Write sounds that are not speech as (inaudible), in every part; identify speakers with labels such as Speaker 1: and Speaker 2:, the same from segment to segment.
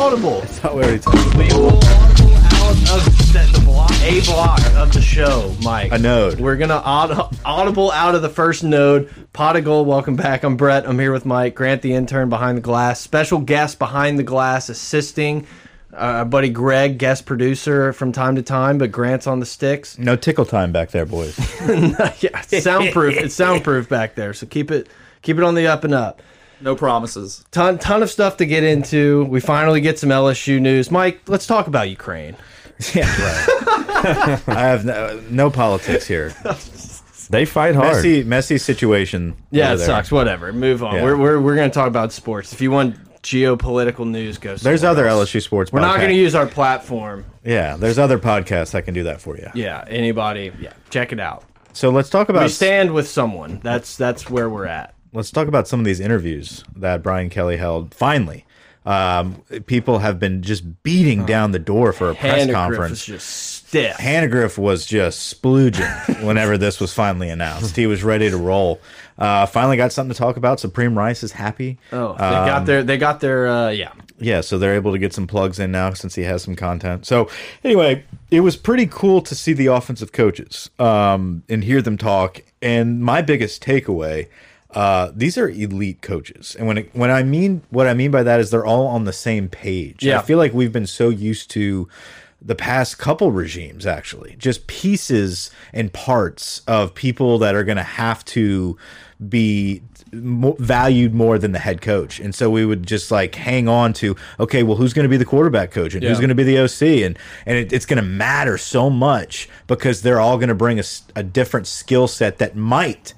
Speaker 1: not where he took
Speaker 2: We will walk you out of the, the block, a block of the show, Mike.
Speaker 1: A node.
Speaker 2: We're gonna aud- audible out of the first node. Pot of gold. Welcome back. I'm Brett. I'm here with Mike Grant, the intern behind the glass. Special guest behind the glass, assisting uh, our buddy Greg, guest producer from time to time. But Grant's on the
Speaker 1: (laughs)
Speaker 2: sticks.
Speaker 1: No tickle time back there, boys.
Speaker 2: (laughs) yeah, it's soundproof. it's soundproof back there. So keep it keep it on the up and up.
Speaker 3: No promises.
Speaker 2: Ton ton of stuff to get into. We finally get some LSU news. Mike, let's talk about Ukraine.
Speaker 1: (laughs) I have no, no politics here.
Speaker 4: They fight hard.
Speaker 1: Messy, messy situation.
Speaker 2: Yeah,
Speaker 1: over
Speaker 2: it
Speaker 1: there.
Speaker 2: sucks. Whatever. Move on.
Speaker 1: Yeah.
Speaker 2: We're, we're, we're going to talk about sports. If you want geopolitical news, go.
Speaker 1: There's
Speaker 2: somewhere
Speaker 1: other
Speaker 2: else.
Speaker 1: LSU sports.
Speaker 2: We're not going to
Speaker 1: podcasts.
Speaker 2: use our platform.
Speaker 1: Yeah, there's other podcasts that can do that for you.
Speaker 2: Yeah. Anybody? Yeah. Check it out.
Speaker 1: So let's talk
Speaker 2: We
Speaker 1: about
Speaker 2: stand with someone. That's that's where we're at.
Speaker 1: let's talk about some of these interviews that Brian Kelly held. Finally, um, people have been just beating down the door for a press
Speaker 2: Handegriff
Speaker 1: conference.
Speaker 2: is just stiff.
Speaker 1: Hannegriff was just
Speaker 2: (laughs)
Speaker 1: splooging whenever this was finally announced. He was ready to roll. Uh, finally got something to talk about. Supreme Rice is happy. Uh,
Speaker 2: oh, they
Speaker 1: um,
Speaker 2: got their they got their uh, yeah.
Speaker 1: Yeah, so they're able to get some plugs in now since he has some content. So anyway, it was pretty cool to see the offensive coaches um, and hear them talk. And my biggest takeaway: uh, these are elite coaches, and when it, when I mean what I mean by that is they're all on the same page.
Speaker 2: Yeah.
Speaker 1: I feel like we've been so used to the past couple regimes actually just pieces and parts of people that are going to have to be mo valued more than the head coach and so we would just like hang on to okay well who's going to be the quarterback coach and who's
Speaker 2: Yeah.
Speaker 1: going to be the oc and and it, it's going to matter so much because they're all going to bring us a different skill set that might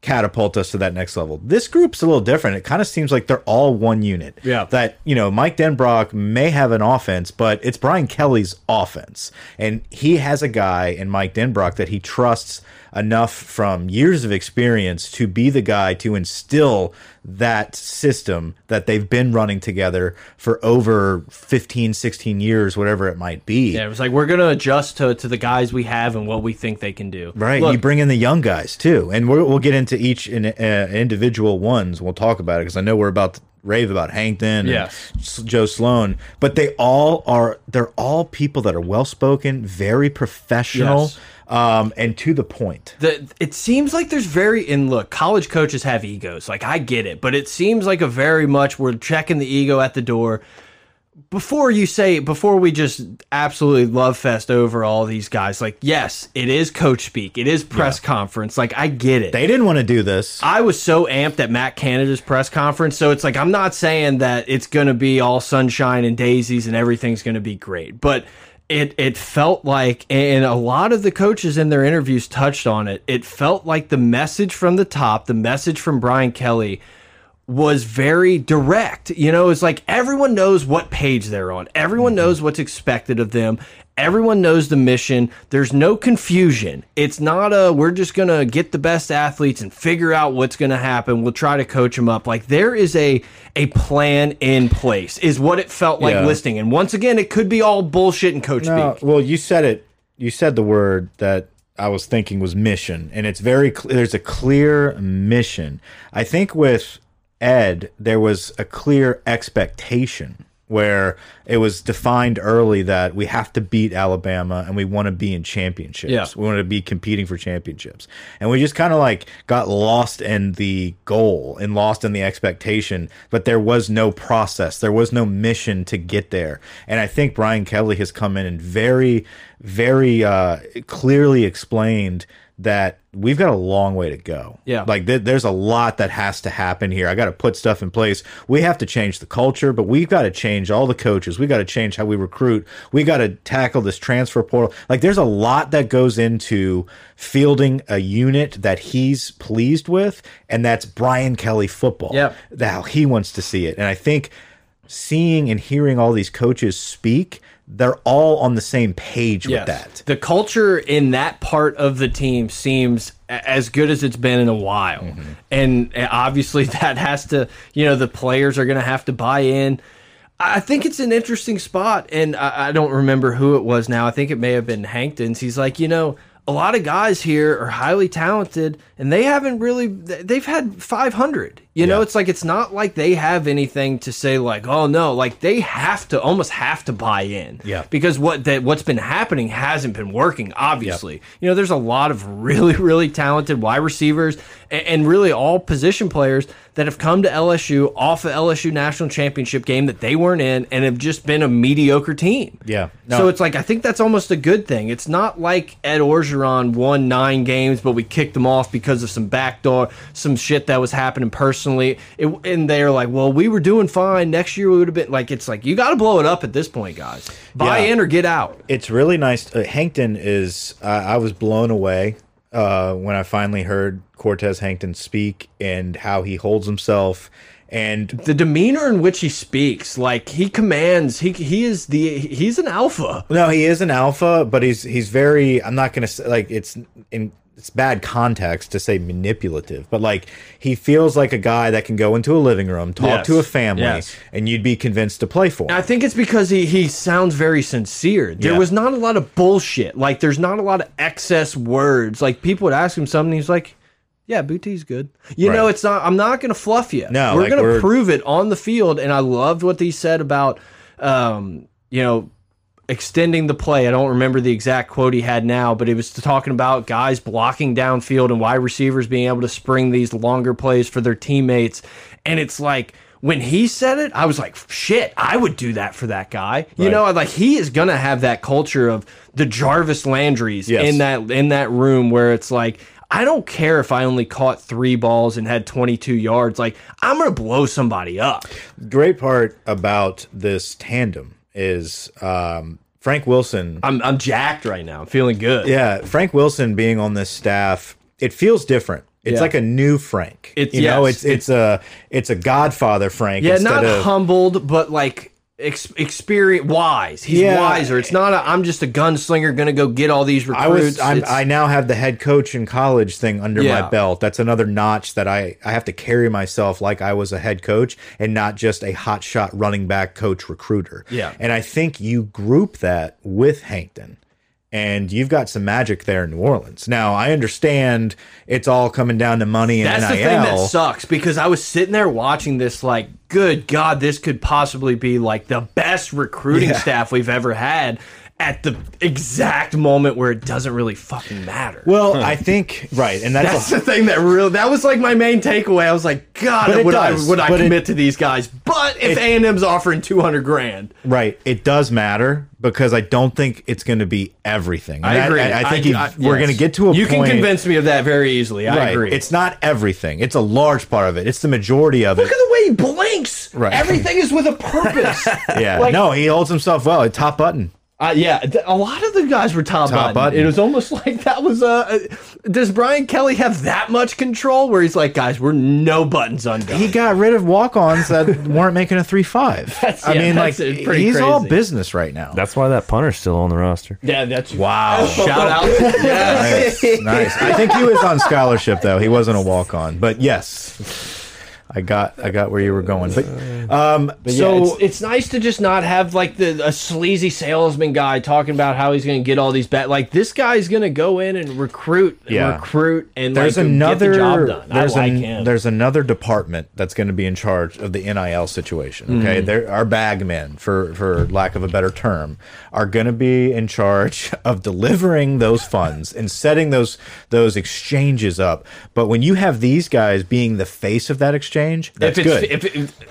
Speaker 1: catapult us to that next level this group's a little different it kind of seems like they're all one unit
Speaker 2: Yeah.
Speaker 1: that that you know Mike Denbrock may have an offense, but it's Brian Kelly's offense, and he has a guy in Mike Denbrock that he trusts enough from years of experience to be the guy to instill that system that they've been running together for over 15 16 years whatever it might be
Speaker 2: Yeah, it was like we're gonna adjust to to the guys we have and what we think they can do.
Speaker 1: Right,
Speaker 2: Look,
Speaker 1: you bring in the young guys too, and we're, we'll get into each in, uh, individual ones. We'll talk about it because I know we're about to rave about Hankton, and
Speaker 2: Yes.
Speaker 1: S- Joe Sloan, but they all are they're all people that are well spoken, very professional,
Speaker 2: Yes.
Speaker 1: um, and to the point.
Speaker 2: the, it seems like there's very and look college coaches have egos like i get it but it seems like a very much we're checking the ego at the door before you say before we just absolutely love fest over all these guys like yes it is coach speak it is press conference like i get it
Speaker 1: They didn't want to do this.
Speaker 2: I was so amped at Matt Canada's press conference. So it's like, I'm not saying that it's going to be all sunshine and daisies and everything's going to be great, but it, it felt like, and a lot of the coaches in their interviews touched on it. It felt like the message from the top, the message from Brian Kelly was very direct. You know, it's like everyone knows what page they're on.
Speaker 1: Mm-hmm.
Speaker 2: Everyone knows what's expected of them. Everyone knows the mission. There's no confusion. It's not a we're just going to get the best athletes and figure out what's going to happen. We'll try to coach them up. Like there is a a plan in place. Is what it felt like
Speaker 1: Yeah.
Speaker 2: listening. And once again, it could be all bullshit and coach
Speaker 1: No,
Speaker 2: speak.
Speaker 1: well, you said it. You said the word that I was thinking was mission, and it's very cl there's a clear mission. I think with Ed, there was a clear expectation where it was defined early that we have to beat Alabama and we want to be in championships.
Speaker 2: Yeah.
Speaker 1: We want to be competing for championships. And we just kind of like got lost in the goal and lost in the expectation, but there was no process. There was no mission to get there. And I think Brian Kelly has come in and very, very uh, clearly explained that we've got a long way to go.
Speaker 2: Yeah.
Speaker 1: Like th there's a lot that has to happen here. I got to put stuff in place. We have to change the culture, but we've got to change all the coaches. We got to change how we recruit. We got to tackle this transfer portal. Like there's a lot that goes into fielding a unit that he's pleased with, and that's Brian Kelly football.
Speaker 2: Yep.
Speaker 1: How he wants to see it. And I think seeing and hearing all these coaches speak, they're all on the same page with that.
Speaker 2: The culture in that part of the team seems a- as good as it's been in a while.
Speaker 1: Mm-hmm.
Speaker 2: And uh, obviously, (laughs) that has to, you know, the players are going to have to buy in. I I think it's an interesting spot. And I, I don't remember who it was now. I think it may have been Hankton's. He's like, you know, a lot of guys here are highly talented and they haven't really, th- they've had 500. You know, it's like it's not like they have anything to say like, "Oh no," like they have to almost have to buy in.
Speaker 1: Yeah.
Speaker 2: Because what that what's been happening hasn't been working obviously. You know, there's a lot of (laughs) really really talented wide receivers and, and really all position players that have come to LSU off of LSU National Championship game that they weren't in and have just been a mediocre team.
Speaker 1: Yeah. No.
Speaker 2: So it's like I think that's almost a good thing. It's not like Ed Orgeron won nine games, but we kicked them off because of some backdoor, some shit that was happening personally. It, and they're like, "Well, we were doing fine. Next year we would have been like." It's like you got to blow it up at this point, guys. Buy
Speaker 1: Yeah.
Speaker 2: in or get out.
Speaker 1: it's really nice. Uh, Hankton is. I I was blown away uh, when I finally heard Cortez Hankton speak and how he holds himself. And
Speaker 2: The demeanor in which he speaks, like he commands, he he is the he's an alpha.
Speaker 1: no, he is an alpha, but he's he's very. I'm not gonna say like it's in it's bad context to say manipulative, but like he feels like a guy that can go into a living room, talk
Speaker 2: Yes.
Speaker 1: to a family,
Speaker 2: Yes.
Speaker 1: and you'd be convinced to play for. Him.
Speaker 2: I think it's because he he sounds very sincere. There
Speaker 1: Yeah.
Speaker 2: was not a lot of bullshit. Like there's not a lot of excess words. Like people would ask him something, he's like, "Yeah, Boutie's good." You know,
Speaker 1: Right.
Speaker 2: it's not. I'm not gonna fluff you.
Speaker 1: No,
Speaker 2: we're
Speaker 1: like,
Speaker 2: gonna
Speaker 1: we're-
Speaker 2: prove it on the field. And I loved what he said about, um, you know. Extending the play, I don't remember the exact quote he had now, but it was talking about guys blocking downfield and wide receivers being able to spring these longer plays for their teammates. And it's like when he said it, I was like, shit, I would do that for that guy. You
Speaker 1: Right.
Speaker 2: know, like he is gonna have that culture of the Jarvis Landry's
Speaker 1: Yes.
Speaker 2: in that in that room where it's like, I don't care if I only caught three balls and had 22 yards. Like, I'm going to blow somebody up.
Speaker 1: great part about this tandem is um, Frank Wilson.
Speaker 2: I'm, I'm jacked right now. I'm feeling good.
Speaker 1: Yeah, Frank Wilson being on this staff, it feels different. It's
Speaker 2: Yeah.
Speaker 1: like a new Frank.
Speaker 2: It's-
Speaker 1: you know,
Speaker 2: yes,
Speaker 1: it's it's a it's a Godfather Frank.
Speaker 2: Yeah,
Speaker 1: instead
Speaker 2: not
Speaker 1: of,
Speaker 2: humbled, but like ex experience wise. He's
Speaker 1: Yeah.
Speaker 2: wiser. It's not a, I'm just a gunslinger going to go get all these recruits.
Speaker 1: I was I'm,
Speaker 2: It's-
Speaker 1: I now have the head coach in college thing under
Speaker 2: Yeah.
Speaker 1: my belt. That's another notch that I I have to carry myself like I was a head coach and not just a hot shot running back coach recruiter.
Speaker 2: Yeah.
Speaker 1: and I think you group that with Hankton. And you've got some magic there in New Orleans. Now I understand it's all coming down to money and
Speaker 2: That's the
Speaker 1: NIL.
Speaker 2: thing that sucks because I was sitting there watching this, like, good God, this could possibly be like the best recruiting
Speaker 1: Yeah.
Speaker 2: staff we've ever had at the exact moment where it doesn't really fucking matter.
Speaker 1: Well, I think right, and that's, (laughs)
Speaker 2: that's
Speaker 1: a,
Speaker 2: the thing that really that was like my main takeaway. I was like, God,
Speaker 1: But it
Speaker 2: would
Speaker 1: does.
Speaker 2: I would I
Speaker 1: But it-
Speaker 2: commit to these guys? But if A and M's offering two hundred grand,
Speaker 1: right. It does matter because I don't think it's going to be everything. And I, think you- we're
Speaker 2: yes.
Speaker 1: going to get to a
Speaker 2: you
Speaker 1: point.
Speaker 2: can convince me of that very easily. I
Speaker 1: Right,
Speaker 2: agree.
Speaker 1: It's not everything. It's a large part of it. It's the majority
Speaker 2: (laughs)
Speaker 1: of it.
Speaker 2: look at the way he blinks.
Speaker 1: Right.
Speaker 2: Everything is with a purpose.
Speaker 1: (laughs) Yeah.
Speaker 2: like-
Speaker 1: no, he holds himself well. Top button.
Speaker 2: Uh, yeah, th- a lot of the guys were top, button.
Speaker 1: Top button.
Speaker 2: It was almost (laughs) like that was Uh, uh, does Brian Kelly have that much control where he's like, guys, we're no buttons undone?
Speaker 1: He got rid of
Speaker 2: (laughs)
Speaker 1: walk-ons that weren't making a three-five.
Speaker 2: That's-
Speaker 1: I
Speaker 2: yeah,
Speaker 1: mean,
Speaker 2: that's,
Speaker 1: like
Speaker 2: uh, pretty
Speaker 1: he's all
Speaker 2: crazy.
Speaker 1: business right now.
Speaker 4: That's why that punter's still on the roster.
Speaker 2: yeah, that's
Speaker 1: Wow.
Speaker 2: Shout
Speaker 1: (laughs)
Speaker 2: out, yes.
Speaker 1: nice. I think he was on scholarship though. He wasn't a walk-on, but yes. I got I got where you were going, but um,
Speaker 2: So
Speaker 1: so
Speaker 2: it's, it's nice to just not have like the a sleazy salesman guy talking about how he's going to get all these bet. Like this guy's going to go in and recruit, and
Speaker 1: Yeah.
Speaker 2: recruit, and
Speaker 1: there's
Speaker 2: like,
Speaker 1: another
Speaker 2: get the job done.
Speaker 1: There's
Speaker 2: I like
Speaker 1: an-
Speaker 2: him.
Speaker 1: there's another department that's going to be in charge of the NIL situation.
Speaker 2: Mm.
Speaker 1: Okay, there our bag men, for for lack of a better term, are going to be in charge (laughs) of delivering those funds and setting those those exchanges up. But when you have these guys being the face of that exchange, that's
Speaker 2: if it's,
Speaker 1: good.
Speaker 2: If it,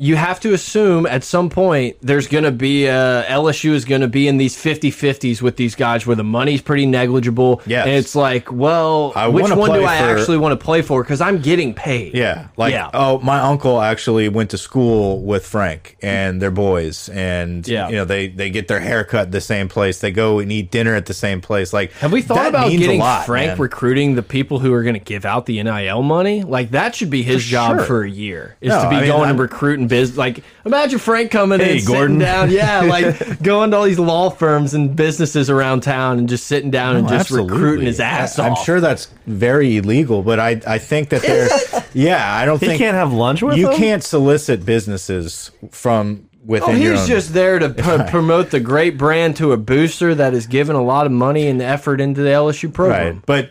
Speaker 2: you have to assume at some point there's going to be uh, LSU is going to be in these 50-50s with these guys where the money's pretty negligible.
Speaker 1: Yes.
Speaker 2: and it's like, well,
Speaker 1: I
Speaker 2: which
Speaker 1: wanna
Speaker 2: one do
Speaker 1: play
Speaker 2: I
Speaker 1: for-
Speaker 2: actually want to play for? Because I'm getting paid.
Speaker 1: yeah, like
Speaker 2: Yeah.
Speaker 1: oh, my uncle actually went to school with Frank and their boys, and
Speaker 2: Yeah.
Speaker 1: you know they they get their haircut the same place, they go and eat dinner at the same place. Like,
Speaker 2: Have we thought
Speaker 1: that
Speaker 2: about
Speaker 1: means a
Speaker 2: getting
Speaker 1: lot,
Speaker 2: Frank
Speaker 1: man.
Speaker 2: recruiting the people who are going to give out the NIL money? Like that should be his job
Speaker 1: sure.
Speaker 2: for a year is
Speaker 1: No,
Speaker 2: to be
Speaker 1: I mean,
Speaker 2: going
Speaker 1: I'm-
Speaker 2: and recruiting business. Like imagine Frank coming
Speaker 1: Hey,
Speaker 2: in,
Speaker 1: Gordon.
Speaker 2: sitting down,
Speaker 1: (laughs)
Speaker 2: yeah, like going to all these law firms and businesses around town and just sitting down and
Speaker 1: Oh,
Speaker 2: just recruiting
Speaker 1: absolutely.
Speaker 2: his ass
Speaker 1: I,
Speaker 2: off.
Speaker 1: I'm sure that's very illegal, but I, I think that they're yeah. I don't
Speaker 4: He
Speaker 1: think
Speaker 4: can't have lunch with
Speaker 1: you
Speaker 4: them?
Speaker 1: can't solicit businesses from within
Speaker 2: Oh,
Speaker 1: your
Speaker 2: he's
Speaker 1: own.
Speaker 2: just there
Speaker 1: (laughs)
Speaker 2: to pro promote the great brand to a booster that is giving a lot of money and effort into the LSU program.
Speaker 1: right, but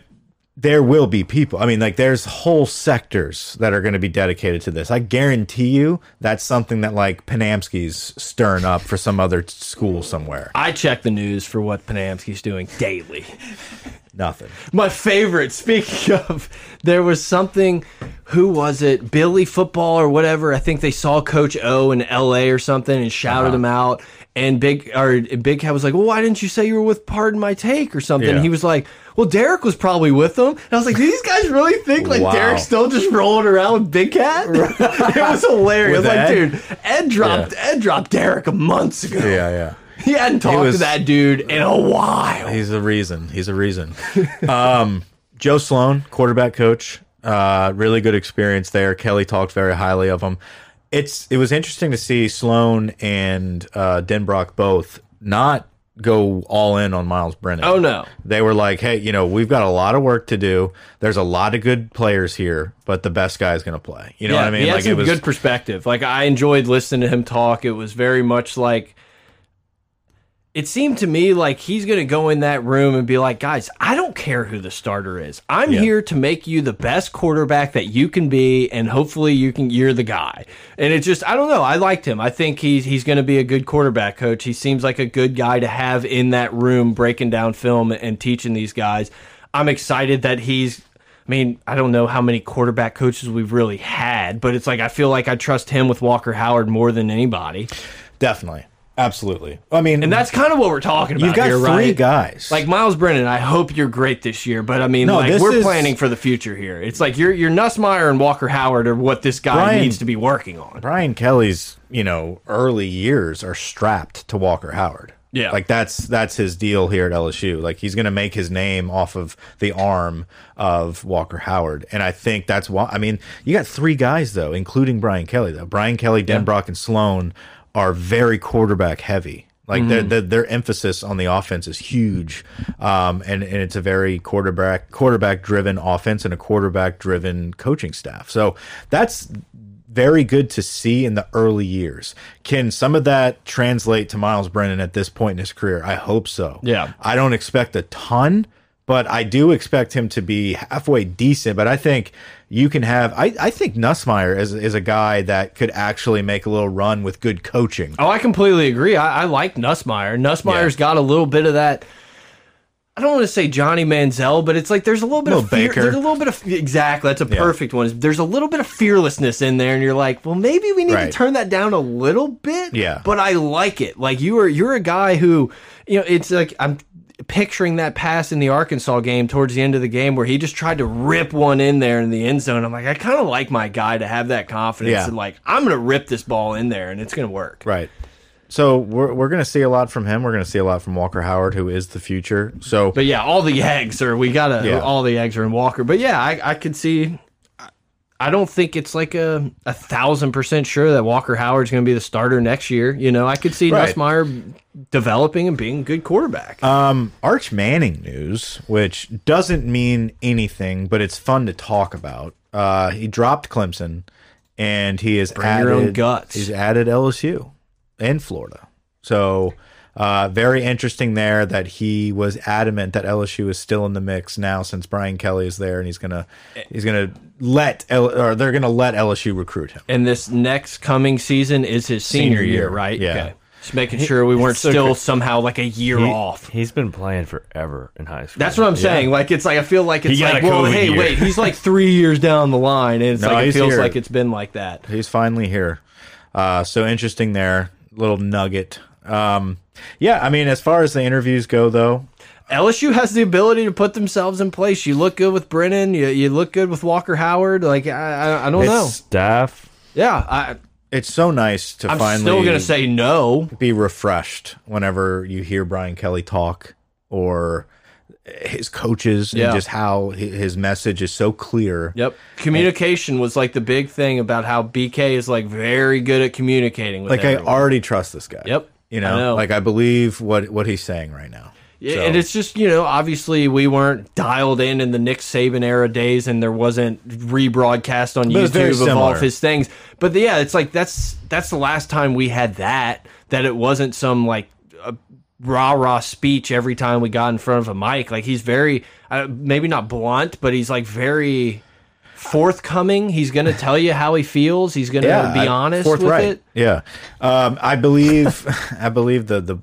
Speaker 1: there will be people. I mean, like there's whole sectors that are going to be dedicated to this. I guarantee you that's something that like Panamsky's stirring up for some other school somewhere.
Speaker 2: I check the news for what Panamsky's doing daily.
Speaker 1: Nothing.
Speaker 2: My favorite, speaking (laughs) of, there was something, who was it? Billy football or whatever. I think they saw Coach O in LA or something and shouted
Speaker 1: Uh-huh.
Speaker 2: him out. And Big or Big Cat was like, Well, why didn't you say you were with Pardon My Take or something?
Speaker 1: Yeah.
Speaker 2: He was like, Well, Derek was probably with them. And I was like, Do these guys really think like
Speaker 1: Wow.
Speaker 2: Derek's still just rolling around with Big Cat? (laughs) it was hilarious.
Speaker 1: With
Speaker 2: Like,
Speaker 1: Ed?
Speaker 2: dude, Ed dropped Ed dropped Derek months ago.
Speaker 1: Yeah, yeah.
Speaker 2: (laughs) He hadn't talked to
Speaker 1: was-
Speaker 2: that dude in a while.
Speaker 1: He's a reason. He's a reason. (laughs) um, Joe Sloan, quarterback coach, uh, really good experience there. Kelly talked very highly of him. It's it was interesting to see Sloan and uh, Denbrock both not go all in on Miles Brennan.
Speaker 2: Oh, no.
Speaker 1: They were like, "Hey, you know, we've got a lot of work to do. There's a lot of good players here, but the best guy is going to play." You know what I mean?
Speaker 2: He had
Speaker 1: like
Speaker 2: some good perspective. Like I enjoyed listening to him talk. It was very much like it seemed to me like he's going to go in that room and be like, guys, I don't care who the starter is. I'm
Speaker 1: Yeah.
Speaker 2: here to make you the best quarterback that you can be, and hopefully you can you're the guy. And it's just I don't know. I liked him. I think he's he's going to be a good quarterback coach. He seems like a good guy to have in that room breaking down film and teaching these guys. I'm excited that he's. I mean, I don't know how many quarterback coaches we've really had, but it's like I feel like I trust him with Walker Howard more than anybody.
Speaker 1: definitely, absolutely. I mean,
Speaker 2: And that's kind of what we're talking about.
Speaker 1: you've got
Speaker 2: here,
Speaker 1: three
Speaker 2: right?
Speaker 1: guys.
Speaker 2: Like Miles Brennan, I hope you're great this year, but I mean,
Speaker 1: No,
Speaker 2: like
Speaker 1: this
Speaker 2: we're
Speaker 1: is-
Speaker 2: planning for the future here. It's like you're you're Nussmeyer and Walker Howard are what this guy
Speaker 1: Brian-
Speaker 2: needs to be working on.
Speaker 1: Brian Kelly's, you know, early years are strapped to Walker Howard.
Speaker 2: Yeah.
Speaker 1: Like that's that's his deal here at LSU. Like he's going to make his name off of the arm of Walker Howard. And I think that's why I mean, you got three guys though, including Brian Kelly though. Brian Kelly, Denbrock and Sloan are very quarterback heavy. Like their, their their emphasis on the offense is huge, um, and and it's a very quarterback quarterback driven offense and a quarterback driven coaching staff. So that's very good to see in the early years. Can some of that translate to Miles Brennan at this point in his career? I hope so.
Speaker 2: Yeah.
Speaker 1: I don't expect a ton, but I do expect him to be halfway decent. But I think you can have I, I think Nussmeyer is is a guy that could actually make a little run with good coaching.
Speaker 2: Oh, I completely agree. I, I like Nussmeyer. Nussmeyer's got a little bit of that. I don't want to say Johnny Manziel, but it's like there's a little bit of
Speaker 1: Little
Speaker 2: fear,
Speaker 1: Baker.
Speaker 2: There's a little bit of exactly. That's a perfect one. There's a little bit of fearlessness in there, and you're like, well, maybe we need to
Speaker 1: Right.
Speaker 2: turn that down a little bit.
Speaker 1: Yeah.
Speaker 2: but I like it. Like you are, you're a guy who, you know, it's like I'm picturing that pass in the Arkansas game towards the end of the game where he just tried to rip one in there in the end zone. I'm like, I kind of like my guy to have that confidence
Speaker 1: Yeah.
Speaker 2: and like I'm gonna rip this ball in there and it's gonna work.
Speaker 1: Right. So we're we're gonna see a lot from him. We're gonna see a lot from Walker Howard, who is the future. So
Speaker 2: But yeah, all
Speaker 1: (laughs)
Speaker 2: the eggs are we gotta
Speaker 1: Yeah.
Speaker 2: all the eggs are in Walker. But yeah, I, I could see. I don't think it's like a a thousand percent sure that Walker Howard's going to be the starter next year. You know, I could see
Speaker 1: Right.
Speaker 2: Nussmeier developing and being a good quarterback.
Speaker 1: Um, Arch Manning news, which doesn't mean anything, but it's fun to talk about. Uh, he dropped Clemson, and he is added
Speaker 2: your own guts.
Speaker 1: He's added LSU and Florida. So uh, very interesting there that he was adamant that LSU is still in the mix now since Brian Kelly is there, and he's gonna he's gonna let L or they're gonna let LSU recruit him.
Speaker 2: and this next coming season is his senior,
Speaker 1: Senior
Speaker 2: year,
Speaker 1: year,
Speaker 2: right?
Speaker 1: yeah.
Speaker 2: Just making sure we weren't
Speaker 4: so
Speaker 2: still
Speaker 4: good.
Speaker 2: somehow like a year off.
Speaker 4: He's been playing forever in high school.
Speaker 2: That's what I'm saying. Like it's like I feel like it's
Speaker 4: got
Speaker 2: like,
Speaker 4: a
Speaker 2: well,
Speaker 4: COVID
Speaker 2: hey,
Speaker 4: year.
Speaker 2: wait, he's
Speaker 1: (laughs)
Speaker 2: like three years down the line, and it's
Speaker 1: No,
Speaker 2: like it
Speaker 1: he's
Speaker 2: feels
Speaker 1: here.
Speaker 2: like it's been like that.
Speaker 1: He's finally here. Uh, so interesting there, little nugget. Um, yeah, I mean, as far as the interviews go, though,
Speaker 2: LSU has the ability to put themselves in place. You look good with Brennan. You, you look good with Walker Howard. Like I, I, I don't know.
Speaker 1: it's
Speaker 4: Staff.
Speaker 2: Yeah, I,
Speaker 1: it's so nice to
Speaker 2: I'm
Speaker 1: finally
Speaker 2: still gonna say no.
Speaker 1: be refreshed whenever you hear Brian Kelly talk or his coaches
Speaker 2: Yeah.
Speaker 1: and just how hi- his message is so clear.
Speaker 2: Yep. Communication was like the big thing about how BK is like very good at communicating with
Speaker 1: Like
Speaker 2: everyone.
Speaker 1: I already trust this guy.
Speaker 2: Yep.
Speaker 1: You
Speaker 2: I
Speaker 1: know,
Speaker 2: know.
Speaker 1: like I believe what what he's saying right now.
Speaker 2: Yeah,
Speaker 1: So-
Speaker 2: and it's just you know obviously we weren't dialed in in the Nick Saban era days, and there wasn't rebroadcast on
Speaker 1: But it's very
Speaker 2: YouTube of all
Speaker 1: similar.
Speaker 2: of his things. But yeah, it's like that's that's the last time we had that. That it wasn't some like uh, rah rah speech every time we got in front of a mic. Like he's very uh, maybe not blunt, but he's like very forthcoming. He's going to tell you how he feels. He's going to be
Speaker 1: I-
Speaker 2: honest with
Speaker 1: forthright.
Speaker 2: it.
Speaker 1: Yeah, um, I believe, (laughs) I believe the the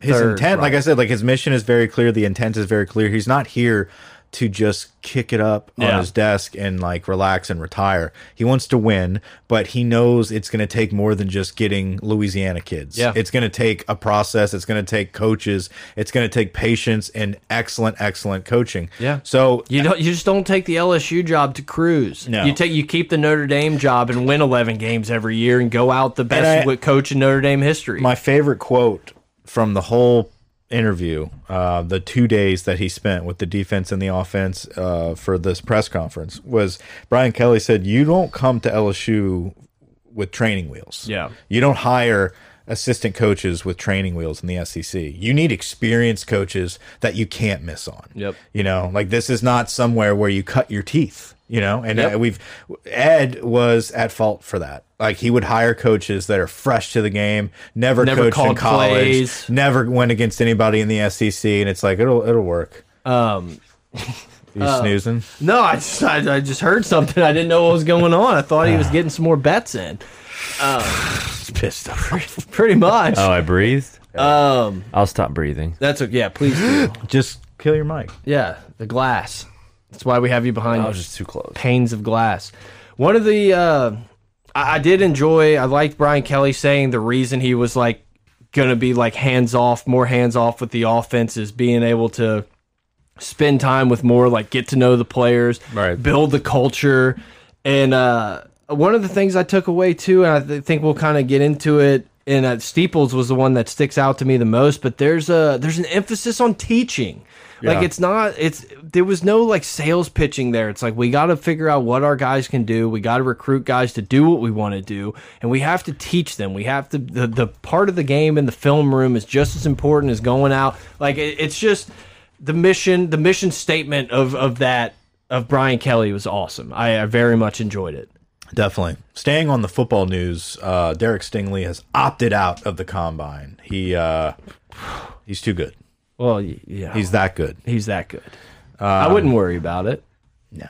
Speaker 1: his
Speaker 2: Third,
Speaker 1: intent, like I said, like his mission is very clear. The intent is very clear. He's not here to just kick it up
Speaker 2: Yeah.
Speaker 1: on his desk and like relax and retire. He wants to win, but he knows it's going to take more than just getting Louisiana kids.
Speaker 2: Yeah.
Speaker 1: it's going to take a process. It's going to take coaches. It's going to take patience and excellent, excellent coaching.
Speaker 2: Yeah.
Speaker 1: So
Speaker 2: You don't. You just don't take the LSU job to cruise.
Speaker 1: No.
Speaker 2: You take. You keep the Notre Dame job and win eleven games every year and go out the best
Speaker 1: I-
Speaker 2: with coach in Notre Dame history.
Speaker 1: my favorite quote from the whole interview, uh, the two days that he spent with the defense and the offense uh, for this press conference, was Brian Kelly said, "You don't come to LSU with training wheels.
Speaker 2: Yeah.
Speaker 1: you don't hire." Assistant coaches with training wheels in the SEC. You need experienced coaches that you can't miss on.
Speaker 2: Yep.
Speaker 1: You know, like this is not somewhere where you cut your teeth, you know, and
Speaker 2: Yep.
Speaker 1: uh, we've, Ed was at fault for that. Like he would hire coaches that are fresh to the game, never,
Speaker 2: Never
Speaker 1: coached in
Speaker 2: called
Speaker 1: college,
Speaker 2: plays.
Speaker 1: never went against anybody in the SEC. And it's like, it'll, it'll work.
Speaker 2: um,
Speaker 1: (laughs) You snoozing?
Speaker 2: no, I just I, I just heard something. I didn't know what was going on. I thought he was getting some more bets in. Um,
Speaker 1: It's pissed
Speaker 2: (laughs)
Speaker 1: off.
Speaker 2: Pretty much.
Speaker 4: Oh, I breathed.
Speaker 2: Um,
Speaker 4: I'll stop breathing.
Speaker 2: that's a, yeah. Please do.
Speaker 1: Just kill your mic.
Speaker 2: yeah, the glass. That's why we have you behind.
Speaker 4: I
Speaker 2: us.
Speaker 4: was just too close.
Speaker 2: panes of glass. One of the uh, I, I did enjoy. I liked Brian Kelly saying the reason he was like going to be like hands off, more hands off with the offense is being able to spend time with more, like get to know the players,
Speaker 1: Right.
Speaker 2: build the culture, and uh, one of the things I took away too, and I th think we'll kind of get into it. And uh, Steeples was the one that sticks out to me the most, but there's a there's an emphasis on teaching. Like
Speaker 1: Yeah.
Speaker 2: it's not it's there was no like sales pitching there. It's like we got to figure out what our guys can do. We got to recruit guys to do what we want to do, and we have to teach them. We have to the, the part of the game in the film room is just as important as going out. Like it, it's just the mission the mission statement of of that of Brian Kelly was awesome. I, I very much enjoyed it.
Speaker 1: Definitely. Staying on the football news, uh, Derek Stingley has opted out of the combine. He, uh, he's too good.
Speaker 2: Well, y- yeah, he's
Speaker 1: He's that good.
Speaker 2: he's that good. I wouldn't worry about it.
Speaker 1: No.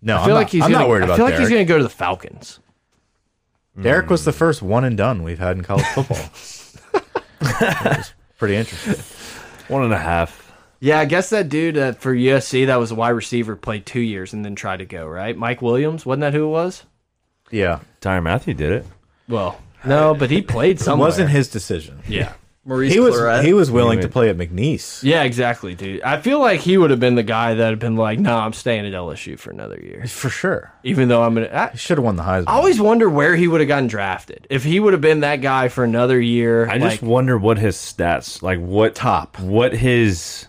Speaker 1: No, I
Speaker 2: I feel like he's
Speaker 1: I'm
Speaker 2: gonna,
Speaker 1: not worried about
Speaker 2: I feel like
Speaker 1: Derek.
Speaker 2: he's going to go to the Falcons.
Speaker 1: Derek was the first one and done we've had in college football.
Speaker 2: (laughs)
Speaker 1: That was pretty interesting.
Speaker 4: One and a half.
Speaker 2: Yeah, I guess that dude uh, for USC that was a wide receiver played two years and then tried to go right. Mike Williams wasn't that who it was?
Speaker 1: Yeah,
Speaker 4: Tyron Matthew did it.
Speaker 2: Well, no, but he played
Speaker 1: (laughs) it
Speaker 2: somewhere.
Speaker 1: wasn't his decision.
Speaker 2: Yeah, Maurice
Speaker 1: He was
Speaker 2: Clarett.
Speaker 1: he was willing to play at McNeese.
Speaker 2: yeah, exactly, dude. I feel like he would have been the guy that had been like, "No, I'm staying at LSU for another year,"
Speaker 1: for sure.
Speaker 2: even though I'm gonna. I,
Speaker 1: He should have won the Heisman.
Speaker 2: I always wonder where he would have gotten drafted if he would have been that guy for another year.
Speaker 4: I
Speaker 2: like,
Speaker 4: just wonder what his stats, like what
Speaker 1: Top.
Speaker 4: what his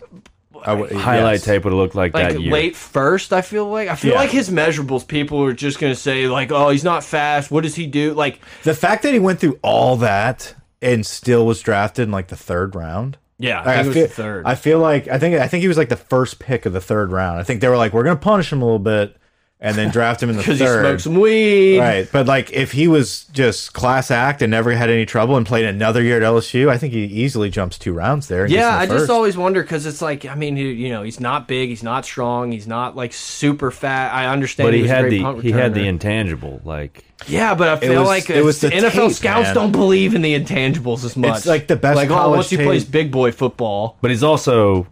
Speaker 1: I would-
Speaker 4: highlight
Speaker 1: yes.
Speaker 4: tape would have looked like,
Speaker 2: like
Speaker 4: that year.
Speaker 2: late first. I feel like I feel
Speaker 1: Yeah.
Speaker 2: like his measurables. People are just gonna say like, "Oh, he's not fast. What does he do?" Like,
Speaker 1: The fact that he went through all that and still was drafted in like the third round.
Speaker 2: yeah, I think it was
Speaker 1: feel,
Speaker 2: the third.
Speaker 1: I feel like I think I think he was like the first pick of the third round. I think they were like, we're gonna punish him a little bit and then
Speaker 2: (laughs)
Speaker 1: draft him in the
Speaker 2: because
Speaker 1: third.
Speaker 2: he smoked some weed.
Speaker 1: Right, but like if he was just class act and never had any trouble and played another year at LSU, I think he easily jumps two rounds there. and gets in
Speaker 2: Yeah,
Speaker 1: the
Speaker 2: I just
Speaker 1: first.
Speaker 2: always wonder because it's like I mean, he, you know, he's not big, he's not strong, he's not like super fat. I understand,
Speaker 4: but he
Speaker 2: was a
Speaker 4: had
Speaker 2: great
Speaker 4: the
Speaker 2: punt
Speaker 4: he had the
Speaker 2: returner.
Speaker 4: intangible. Like
Speaker 2: yeah, but I feel
Speaker 1: was-
Speaker 2: like
Speaker 1: it was the
Speaker 2: NFL
Speaker 1: tape,
Speaker 2: scouts
Speaker 1: man.
Speaker 2: don't believe in the intangibles as much.
Speaker 1: like the best
Speaker 2: Like oh,
Speaker 1: college
Speaker 2: once he
Speaker 1: tape.
Speaker 2: plays big boy football,
Speaker 4: but he's also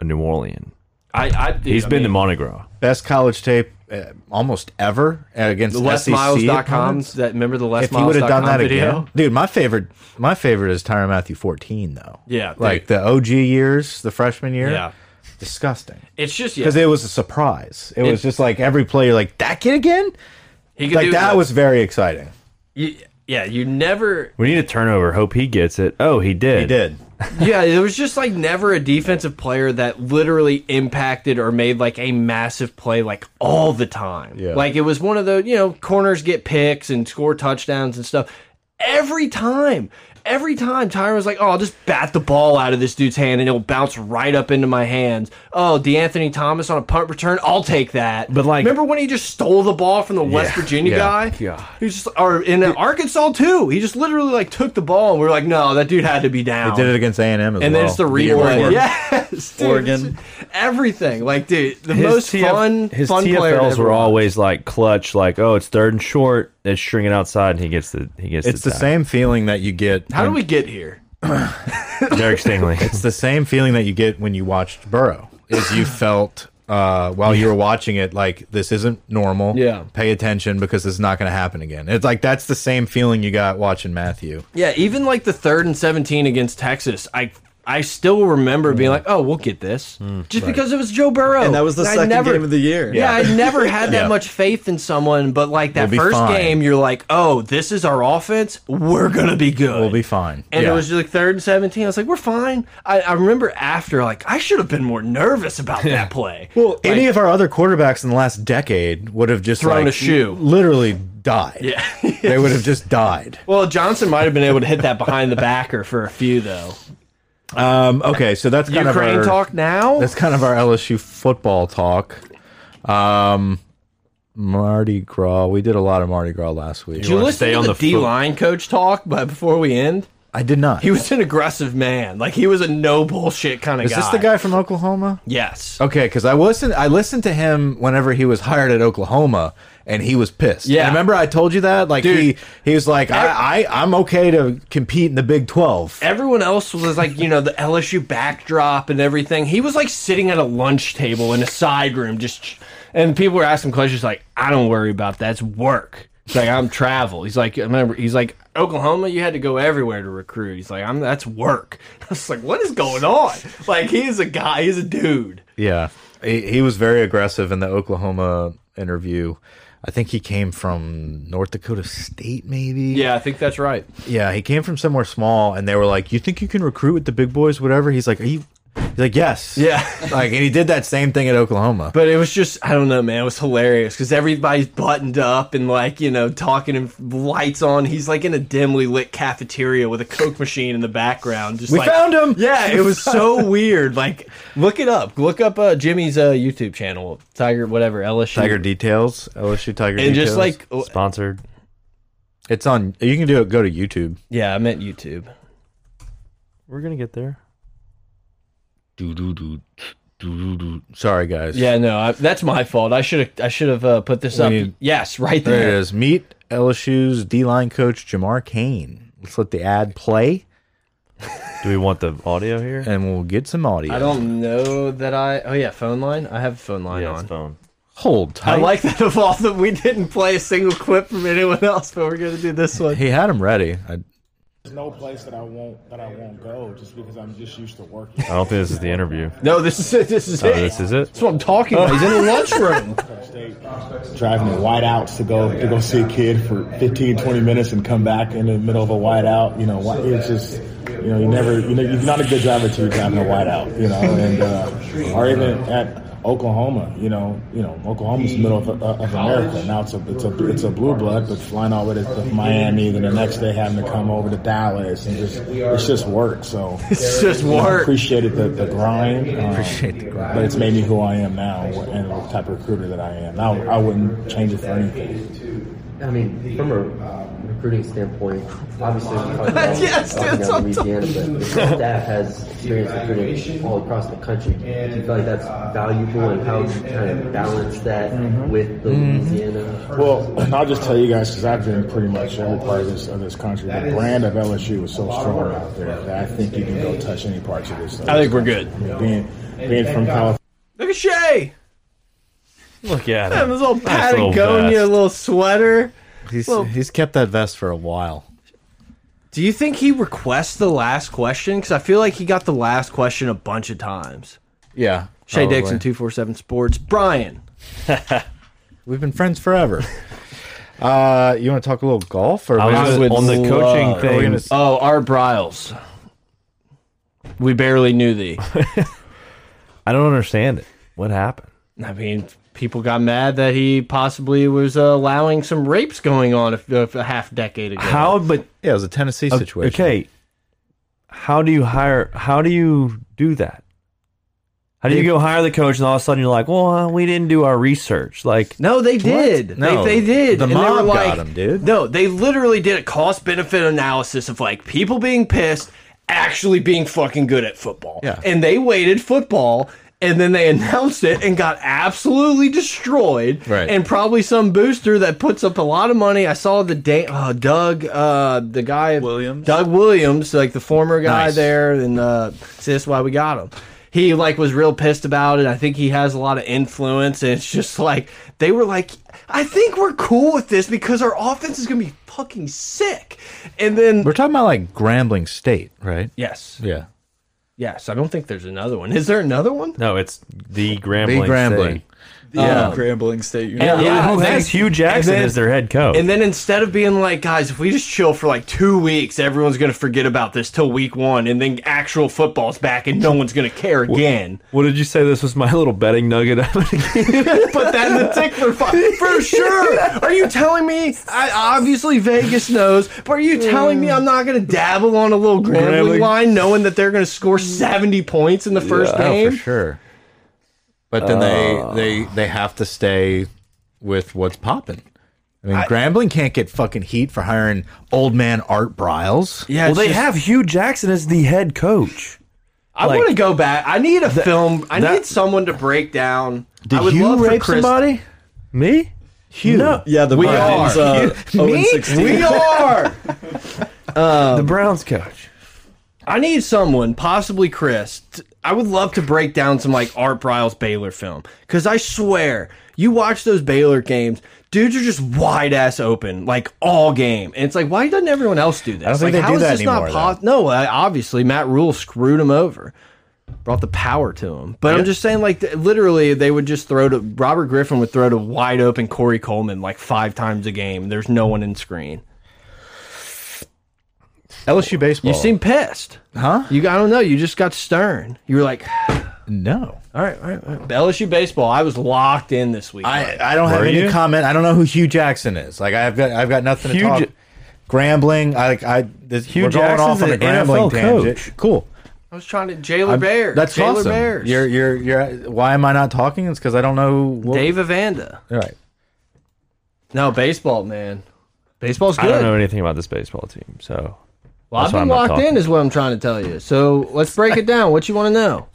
Speaker 4: a New Orlean.
Speaker 2: I, I dude,
Speaker 4: He's
Speaker 2: I
Speaker 4: been
Speaker 2: mean,
Speaker 4: to Mardi Gras.
Speaker 1: best college tape uh, almost ever uh, against
Speaker 2: the
Speaker 1: SEC
Speaker 2: LesMiles.com.
Speaker 1: opponents.
Speaker 2: That remember the
Speaker 1: If he would have done
Speaker 2: LesMiles.com
Speaker 1: that
Speaker 2: video?
Speaker 1: again, dude, my favorite, my favorite is Tyron Matthew fourteen though.
Speaker 2: Yeah, dude.
Speaker 1: like the OG years, the freshman year.
Speaker 2: Yeah,
Speaker 1: disgusting
Speaker 2: it's just yeah.
Speaker 1: because it was a surprise. It, was just like every player, like that kid again.
Speaker 2: he could
Speaker 1: Like
Speaker 2: do
Speaker 1: that
Speaker 2: the-
Speaker 1: was very exciting.
Speaker 2: you, yeah. You never
Speaker 4: We need a turnover. Hope he gets it. Oh, he did.
Speaker 1: He did.
Speaker 2: Yeah, there was just like never a defensive player that literally impacted or made like a massive play like all the time.
Speaker 1: Yeah.
Speaker 2: Like it was one of those, you know, corners get picks and score touchdowns and stuff every time. Every time Tyron was like, "Oh, I'll just bat the ball out of this dude's hand and it'll bounce right up into my hands." Oh, DeAnthony Thomas on a punt return, I'll take that.
Speaker 4: But, like-
Speaker 2: remember when he just stole the ball from the West Virginia
Speaker 4: yeah,
Speaker 2: guy?
Speaker 4: God.
Speaker 2: He was just, or in Arkansas too. He just literally like took the ball and we were like, "No, that dude had to be down."
Speaker 1: Did it against A and M as
Speaker 2: and
Speaker 1: well.
Speaker 2: then it's the
Speaker 1: Did you
Speaker 2: replay.
Speaker 1: work?
Speaker 2: Yes, dude,
Speaker 3: Oregon.
Speaker 2: everything. Like, dude, the
Speaker 4: His
Speaker 2: most
Speaker 4: TF
Speaker 2: fun,
Speaker 4: His
Speaker 2: fun player. to
Speaker 4: TFLs
Speaker 2: ever
Speaker 4: were
Speaker 2: watch.
Speaker 4: always like clutch, like oh, it's third and short. They string it outside, and he gets the he gets.
Speaker 1: It's the
Speaker 4: tie.
Speaker 1: same feeling that you get.
Speaker 2: How do we get here?
Speaker 4: Derek Stingley.
Speaker 1: It's the same feeling that you get when you watched Burrow.
Speaker 2: (laughs)
Speaker 1: Is you felt uh, while you were watching it like this isn't normal.
Speaker 2: Yeah.
Speaker 1: Pay attention because this is not going to happen again. It's like that's the same feeling you got watching Matthew.
Speaker 2: Yeah, even like the third and seventeen against Texas, I I still remember being like, "Oh, we'll get this," just because it was Joe Burrow,
Speaker 3: And that was the
Speaker 2: I
Speaker 3: second
Speaker 2: never-
Speaker 3: game of the year.
Speaker 2: Yeah, I never had that
Speaker 1: Yeah.
Speaker 2: much faith in someone, but like that
Speaker 1: We'll be
Speaker 2: first
Speaker 1: fine.
Speaker 2: game, you're like, "Oh, this is our offense. We're gonna be good.
Speaker 1: We'll be fine.
Speaker 2: And
Speaker 1: Yeah.
Speaker 2: it was just like third and seventeen. I was like, "We're fine." I, I remember after, like, I should have been more nervous about
Speaker 1: (laughs)
Speaker 2: that play.
Speaker 1: Well, any of our other quarterbacks in the last decade would have just
Speaker 2: Thrown
Speaker 1: like,
Speaker 2: a shoe.
Speaker 1: literally died.
Speaker 2: Yeah. (laughs)
Speaker 1: they would have just died.
Speaker 2: Well, Johnson might have been able to hit that behind the backer for a few though.
Speaker 1: Um, okay, so that's kind
Speaker 2: Ukraine
Speaker 1: of our
Speaker 2: talk now.
Speaker 1: That's kind of our LSU football talk. Um, Mardi Gras. We did a lot of Mardi Gras last week.
Speaker 2: Did you listen
Speaker 4: stay
Speaker 2: to
Speaker 4: on
Speaker 2: the
Speaker 4: the foot-
Speaker 2: D line coach talk? But before we end,
Speaker 1: I did not.
Speaker 2: he was an aggressive man. Like he was a no bullshit kind of
Speaker 1: Is
Speaker 2: guy.
Speaker 1: this the guy from Oklahoma?
Speaker 2: Yes.
Speaker 1: Okay, because I listened. I listened to him whenever he was hired at Oklahoma, and he was pissed.
Speaker 2: Yeah.
Speaker 1: And remember I told you that? Like
Speaker 2: Dude.
Speaker 1: he, he was like, I, I, I'm okay to compete in the Big Twelve.
Speaker 2: Everyone else was like, you know, the LSU backdrop and everything. He was like sitting at a lunch table in a side room, just ch- and people were asking questions like, "I don't worry about that. It's work." It's like I'm travel. He's like, remember? He's like Oklahoma. You had to go everywhere to recruit. He's like, I'm that's work. (laughs) I was like, what is going on? Like he is a guy. He's a dude.
Speaker 1: Yeah, he, he was very aggressive in the Oklahoma interview. I think he came from North Dakota State, maybe.
Speaker 2: Yeah, I think that's right.
Speaker 1: Yeah, he came from somewhere small, and they were like, "You think you can recruit with the big boys, whatever?" He's like, "Are you?" He's like, "Yes."
Speaker 2: Yeah.
Speaker 1: (laughs) Like, and he did that same thing at Oklahoma.
Speaker 2: But it was just, I don't know, man. It was hilarious because everybody's buttoned up and, like, you know, talking and lights on. He's like in a dimly lit cafeteria with a Coke machine in the background. Just
Speaker 1: we
Speaker 2: like,
Speaker 1: found him.
Speaker 2: Yeah, it was so weird. Like, look it up. Look up uh, Jimmy's uh, YouTube channel, Tiger, whatever, LSU.
Speaker 1: (laughs) Tiger details, LSU Tiger
Speaker 2: And
Speaker 1: details.
Speaker 2: just like, oh,
Speaker 4: Sponsored.
Speaker 1: it's on. You can do it. Go to YouTube.
Speaker 2: yeah, I meant YouTube.
Speaker 4: We're gonna get there.
Speaker 1: Do do do do do do. Sorry, guys.
Speaker 2: Yeah, no, I, that's my fault. I should have, I should have uh, put this up.
Speaker 1: need-
Speaker 2: yes, right
Speaker 1: There it
Speaker 2: there.
Speaker 1: is. Meet LSU's D line coach Jamar Kane. Let's let the ad play,
Speaker 4: Do we want the audio here?
Speaker 1: and we'll get some audio.
Speaker 2: I don't know that I. Oh yeah, phone line. I have phone line
Speaker 4: Yeah,
Speaker 2: on.
Speaker 4: it's phone.
Speaker 1: hold
Speaker 2: I
Speaker 1: tight.
Speaker 2: like that of all that we didn't play a single clip from anyone else, but we're gonna do this one.
Speaker 1: he had him ready. I,
Speaker 5: There's no place that I won't that I won't go just because I'm just used to working.
Speaker 4: I don't think this is the interview.
Speaker 2: No, this is it. This is
Speaker 4: Oh,
Speaker 2: it.
Speaker 4: this is
Speaker 2: (laughs)
Speaker 4: it.
Speaker 2: That's what I'm talking about. He's in the lunchroom.
Speaker 5: State, driving to whiteouts to go to go see a kid for 15, 20 minutes and come back in the middle of a whiteout. You know, why- it's just you know you never you know you're not a good driver till you're driving a whiteout. You know, and uh, or even at Oklahoma. You know, you know Oklahoma's the middle of, uh, of America. Now it's a it's a it's a blue blood, but flying all the way to, to Miami, then the next day having to come over to Dallas and just it's just work. So
Speaker 2: It's just
Speaker 5: You know, I
Speaker 2: work.
Speaker 5: appreciated the, the grind. appreciate the grind. But it's made me who I am now and the type of recruiter that I am. I, I wouldn't change it for anything.
Speaker 6: I mean, from a um, recruiting standpoint, obviously, we're talking about,
Speaker 2: Yes,
Speaker 6: talking
Speaker 2: that's
Speaker 6: about
Speaker 2: what I'm
Speaker 6: Louisiana, but the staff has experience recruiting all across the country. Do you feel like that's valuable, and how do you kind of balance that with the Louisiana?
Speaker 5: Well, and I'll just tell you guys because I've been pretty much every part of this of this country. The brand of LSU is so strong out there that I think you can go touch any parts of this.
Speaker 2: I think we're good.
Speaker 5: being being from California.
Speaker 2: Look at Shay.
Speaker 4: Look at
Speaker 2: Him, his
Speaker 4: him.
Speaker 2: little
Speaker 4: Nice little
Speaker 2: Patagonia,
Speaker 4: vest.
Speaker 2: little, sweater.
Speaker 1: he's
Speaker 2: Well-
Speaker 1: he's kept that vest for a while.
Speaker 2: Do you think he requests the last question? Because I feel like he got the last question a bunch of times.
Speaker 1: Yeah.
Speaker 2: Shay
Speaker 1: probably.
Speaker 2: Dixon, two four seven Sports. Brian.
Speaker 1: We've been friends (laughs) forever. uh, you want to talk a little golf or
Speaker 4: I was
Speaker 2: I would
Speaker 4: on the coaching
Speaker 2: love-
Speaker 4: thing.
Speaker 1: gonna-
Speaker 2: Oh, Art Briles. We barely knew thee.
Speaker 4: I don't understand it. What happened?
Speaker 2: I mean, people got mad that he possibly was uh, allowing some rapes going on a, a, a half decade ago.
Speaker 4: How? But
Speaker 1: Yeah, it was a Tennessee situation.
Speaker 4: okay. How do you hire? How do you do that? How do you go hire the coach and all of a sudden you're like, well, uh, we didn't do our research. Like,
Speaker 2: No, they did.
Speaker 1: No,
Speaker 2: they, they did.
Speaker 1: the
Speaker 2: and they were
Speaker 1: mob
Speaker 2: like,
Speaker 1: got 'em, dude.
Speaker 2: No, they literally did a cost benefit analysis of like people being pissed, actually being fucking good at football.
Speaker 1: Yeah.
Speaker 2: And they waited football. And then they (laughs) announced it and got absolutely destroyed.
Speaker 1: Right.
Speaker 2: And probably some booster that puts up a lot of money. I saw the day, uh, Doug, uh, the guy
Speaker 1: Williams?
Speaker 2: Doug Williams, like the former guy
Speaker 1: Nice.
Speaker 2: there, and uh, see, that's why we got him. He like was real pissed about it. I think he has a lot of influence, and it's just like they were like, I think we're cool with this because our offense is gonna be fucking sick. And then
Speaker 1: We're talking about like Grambling State, right?
Speaker 2: yes,
Speaker 1: Yeah.
Speaker 2: yes, I don't think there's another one. Is there another one? Um,
Speaker 4: no, it's the
Speaker 1: Be
Speaker 4: Grambling.
Speaker 1: Grambling.
Speaker 4: State.
Speaker 3: Yeah, Grambling State University.
Speaker 2: Yeah,
Speaker 4: who
Speaker 2: that's-
Speaker 4: has Hugh Jackson
Speaker 2: and then-
Speaker 4: as their head coach?
Speaker 2: And then instead of being like, guys, if we just chill for like two weeks, everyone's gonna forget about this till week one, and then actual football's back, and no one's gonna care again.
Speaker 4: what did you say? This was my little betting nugget.
Speaker 2: put that in the tickler file. For sure. Are you telling me? I, obviously, Vegas knows, but are you telling me I'm not going to dabble on a little
Speaker 4: Grambling.
Speaker 2: gambling line knowing that they're going to
Speaker 3: Mm.
Speaker 2: score 70 points in the first
Speaker 1: Oh,
Speaker 2: game?
Speaker 1: for sure. Uh. But then they they they have to stay with what's popping. I mean, Grambling can't get fucking heat for hiring old man Art Briles.
Speaker 2: Yeah,
Speaker 4: well,
Speaker 2: it's
Speaker 4: they
Speaker 2: just-
Speaker 4: have Hugh Jackson as the head coach.
Speaker 2: I
Speaker 4: like-
Speaker 2: want to go back. I need a film. I
Speaker 4: that-
Speaker 2: need someone to break down. I
Speaker 1: Did
Speaker 2: would
Speaker 1: you
Speaker 2: love for
Speaker 1: rape
Speaker 2: Chris-
Speaker 1: somebody?
Speaker 4: Me? Hugh? No,
Speaker 3: Yeah, the
Speaker 2: We
Speaker 3: Browns.
Speaker 2: are.
Speaker 3: Uh, 0 and
Speaker 2: (laughs) Me?
Speaker 3: 16.
Speaker 2: We are.
Speaker 4: the Browns coach.
Speaker 1: Oh.
Speaker 2: I need someone, possibly Chris. t- I would love to break down some like Art Briles Baylor film because I swear you watch those Baylor games, dudes are just wide ass open like all game, and it's like why doesn't everyone else do this?
Speaker 1: don't think
Speaker 2: like,
Speaker 1: they do that anymore,
Speaker 2: not No, I, obviously Matt Rule screwed him over, brought the power to him. But I'm just saying, like th- literally, they would just throw to Robert Griffin would throw to wide open Corey Coleman like five times a game. There's no one in screen.
Speaker 1: LSU baseball.
Speaker 2: You seem pissed,
Speaker 1: Huh?
Speaker 2: You I don't know. You just got stern. You were like.
Speaker 1: no.
Speaker 2: All right, all right, all right. LSU baseball. I was locked in this week.
Speaker 1: I I don't have
Speaker 4: Were
Speaker 1: any
Speaker 4: you?
Speaker 1: comment. I don't know who Hugh Jackson is. Like I've got I've got nothing
Speaker 4: Hugh
Speaker 1: to
Speaker 4: Ja-
Speaker 1: talk. Grambling. I like I. This,
Speaker 4: Hugh
Speaker 1: we're going off
Speaker 4: Jackson's
Speaker 1: on a
Speaker 4: an
Speaker 1: Grambling
Speaker 4: NFL
Speaker 1: tangent.
Speaker 4: coach.
Speaker 1: Cool.
Speaker 2: I was trying to Jailer Bears.
Speaker 1: That's
Speaker 2: Jailer
Speaker 1: awesome.
Speaker 2: Bears.
Speaker 1: You're you're you're. Why am I not talking? It's because I don't know. What,
Speaker 2: Dave Avanda.
Speaker 1: All right.
Speaker 2: No baseball, man. Baseball's
Speaker 4: I
Speaker 2: good.
Speaker 4: don't know anything about this baseball team, so
Speaker 2: well, I've
Speaker 4: That's why
Speaker 2: been
Speaker 4: I'm not
Speaker 2: locked in,
Speaker 4: talking.
Speaker 2: is what I'm trying to tell you. So let's break it down. What you want to know?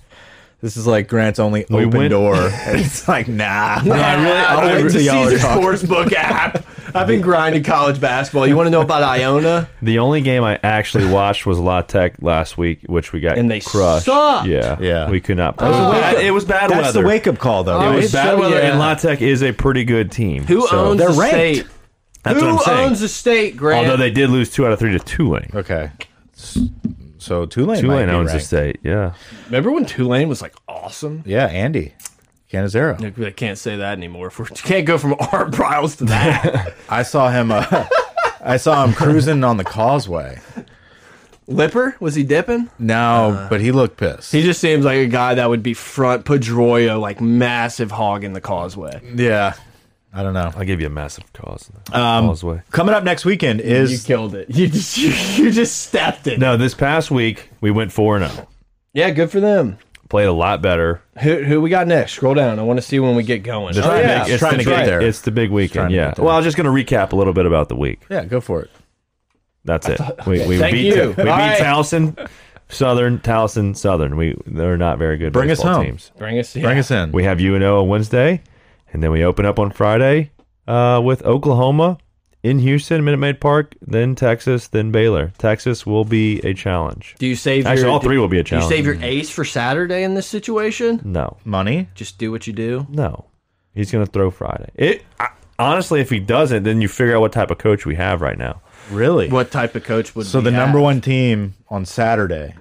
Speaker 1: This is like Grant's only open
Speaker 4: went- (laughs)
Speaker 1: door. (laughs) And it's like nah.
Speaker 2: I really,
Speaker 1: I went to Caesar's
Speaker 2: Sportsbook app. I've been grinding college basketball. You want to know about Iona?
Speaker 4: the only game I actually watched was La Tech last week, which we got
Speaker 2: And they
Speaker 4: crushed.
Speaker 2: sucked.
Speaker 4: Yeah,
Speaker 1: Yeah.
Speaker 4: we could not. Play.
Speaker 1: was a wake up-
Speaker 4: it was bad
Speaker 1: That's
Speaker 4: weather.
Speaker 1: the wake up call though.
Speaker 2: Oh,
Speaker 4: it was
Speaker 2: it's
Speaker 4: bad
Speaker 2: so-
Speaker 4: weather,
Speaker 2: yeah.
Speaker 4: and La Tech is a pretty good team.
Speaker 2: Who
Speaker 4: so-
Speaker 2: owns
Speaker 1: they're
Speaker 2: the
Speaker 1: ranked.
Speaker 2: state?
Speaker 4: That's
Speaker 2: Who
Speaker 4: what I'm saying.
Speaker 2: owns the state, Grant?
Speaker 4: Although they did lose two out of three to Tulane.
Speaker 1: okay. So Tulane. might
Speaker 4: Tulane
Speaker 1: be
Speaker 4: owns the
Speaker 1: ranked.
Speaker 4: state. Yeah,
Speaker 2: Remember when Tulane was like awesome?
Speaker 1: Yeah, Andy. Canizero.
Speaker 2: Like, I can't say that anymore. If we (laughs) can't go from Art Briles to that.
Speaker 1: I saw him. Uh, (laughs) I saw him cruising on the causeway.
Speaker 2: (laughs) Lipper was he dipping?
Speaker 1: No, but Uh-huh. he looked pissed.
Speaker 2: He just seems like a guy that would be front Pedroia, like massive hog in the causeway.
Speaker 1: yeah. I don't know.
Speaker 4: I'll give you a massive cause. Um, causeway.
Speaker 1: Coming up next weekend
Speaker 2: You
Speaker 1: is
Speaker 2: killed it. You just (laughs) you, you just stepped it.
Speaker 4: No, this past week we went four and zero.
Speaker 2: Yeah, good for them.
Speaker 4: Played a lot better.
Speaker 2: Who who we got next? Scroll down. I want to see when we get going.
Speaker 4: The
Speaker 2: Oh,
Speaker 4: big-
Speaker 2: yeah.
Speaker 1: It's trying
Speaker 4: the
Speaker 1: to get
Speaker 4: big-
Speaker 1: there.
Speaker 4: It's the big
Speaker 1: trying
Speaker 4: weekend.
Speaker 1: to
Speaker 4: Yeah.
Speaker 1: get there.
Speaker 4: Well, I was just going to recap a little bit about the week.
Speaker 1: yeah. Go for it. (laughs)
Speaker 4: That's it. We, we
Speaker 2: Thank
Speaker 4: beat
Speaker 2: you.
Speaker 4: we beat
Speaker 2: All right.
Speaker 4: Towson, Southern, Towson, Southern. We they're not very good.
Speaker 1: Bring us
Speaker 4: baseball
Speaker 1: home.
Speaker 4: Teams.
Speaker 2: Bring us. Yeah.
Speaker 1: Bring us in.
Speaker 4: We have UNO on Wednesday, and then we open up on Friday uh, with Oklahoma in Houston, Minute Maid Park, then Texas, then Baylor. Texas will be a challenge.
Speaker 2: Do you save
Speaker 4: Actually,
Speaker 2: your,
Speaker 4: all three will be a
Speaker 2: Do you
Speaker 4: challenge.
Speaker 2: save your ace for Saturday in this situation?
Speaker 4: no,
Speaker 1: Money.
Speaker 2: Just do what you do.
Speaker 4: no. He's going to throw Friday. It I, honestly, if he doesn't, then you figure out what type of coach we have right now.
Speaker 1: Really?
Speaker 2: What type of coach would
Speaker 1: So
Speaker 2: we
Speaker 1: the
Speaker 2: have?
Speaker 1: number one team on Saturday,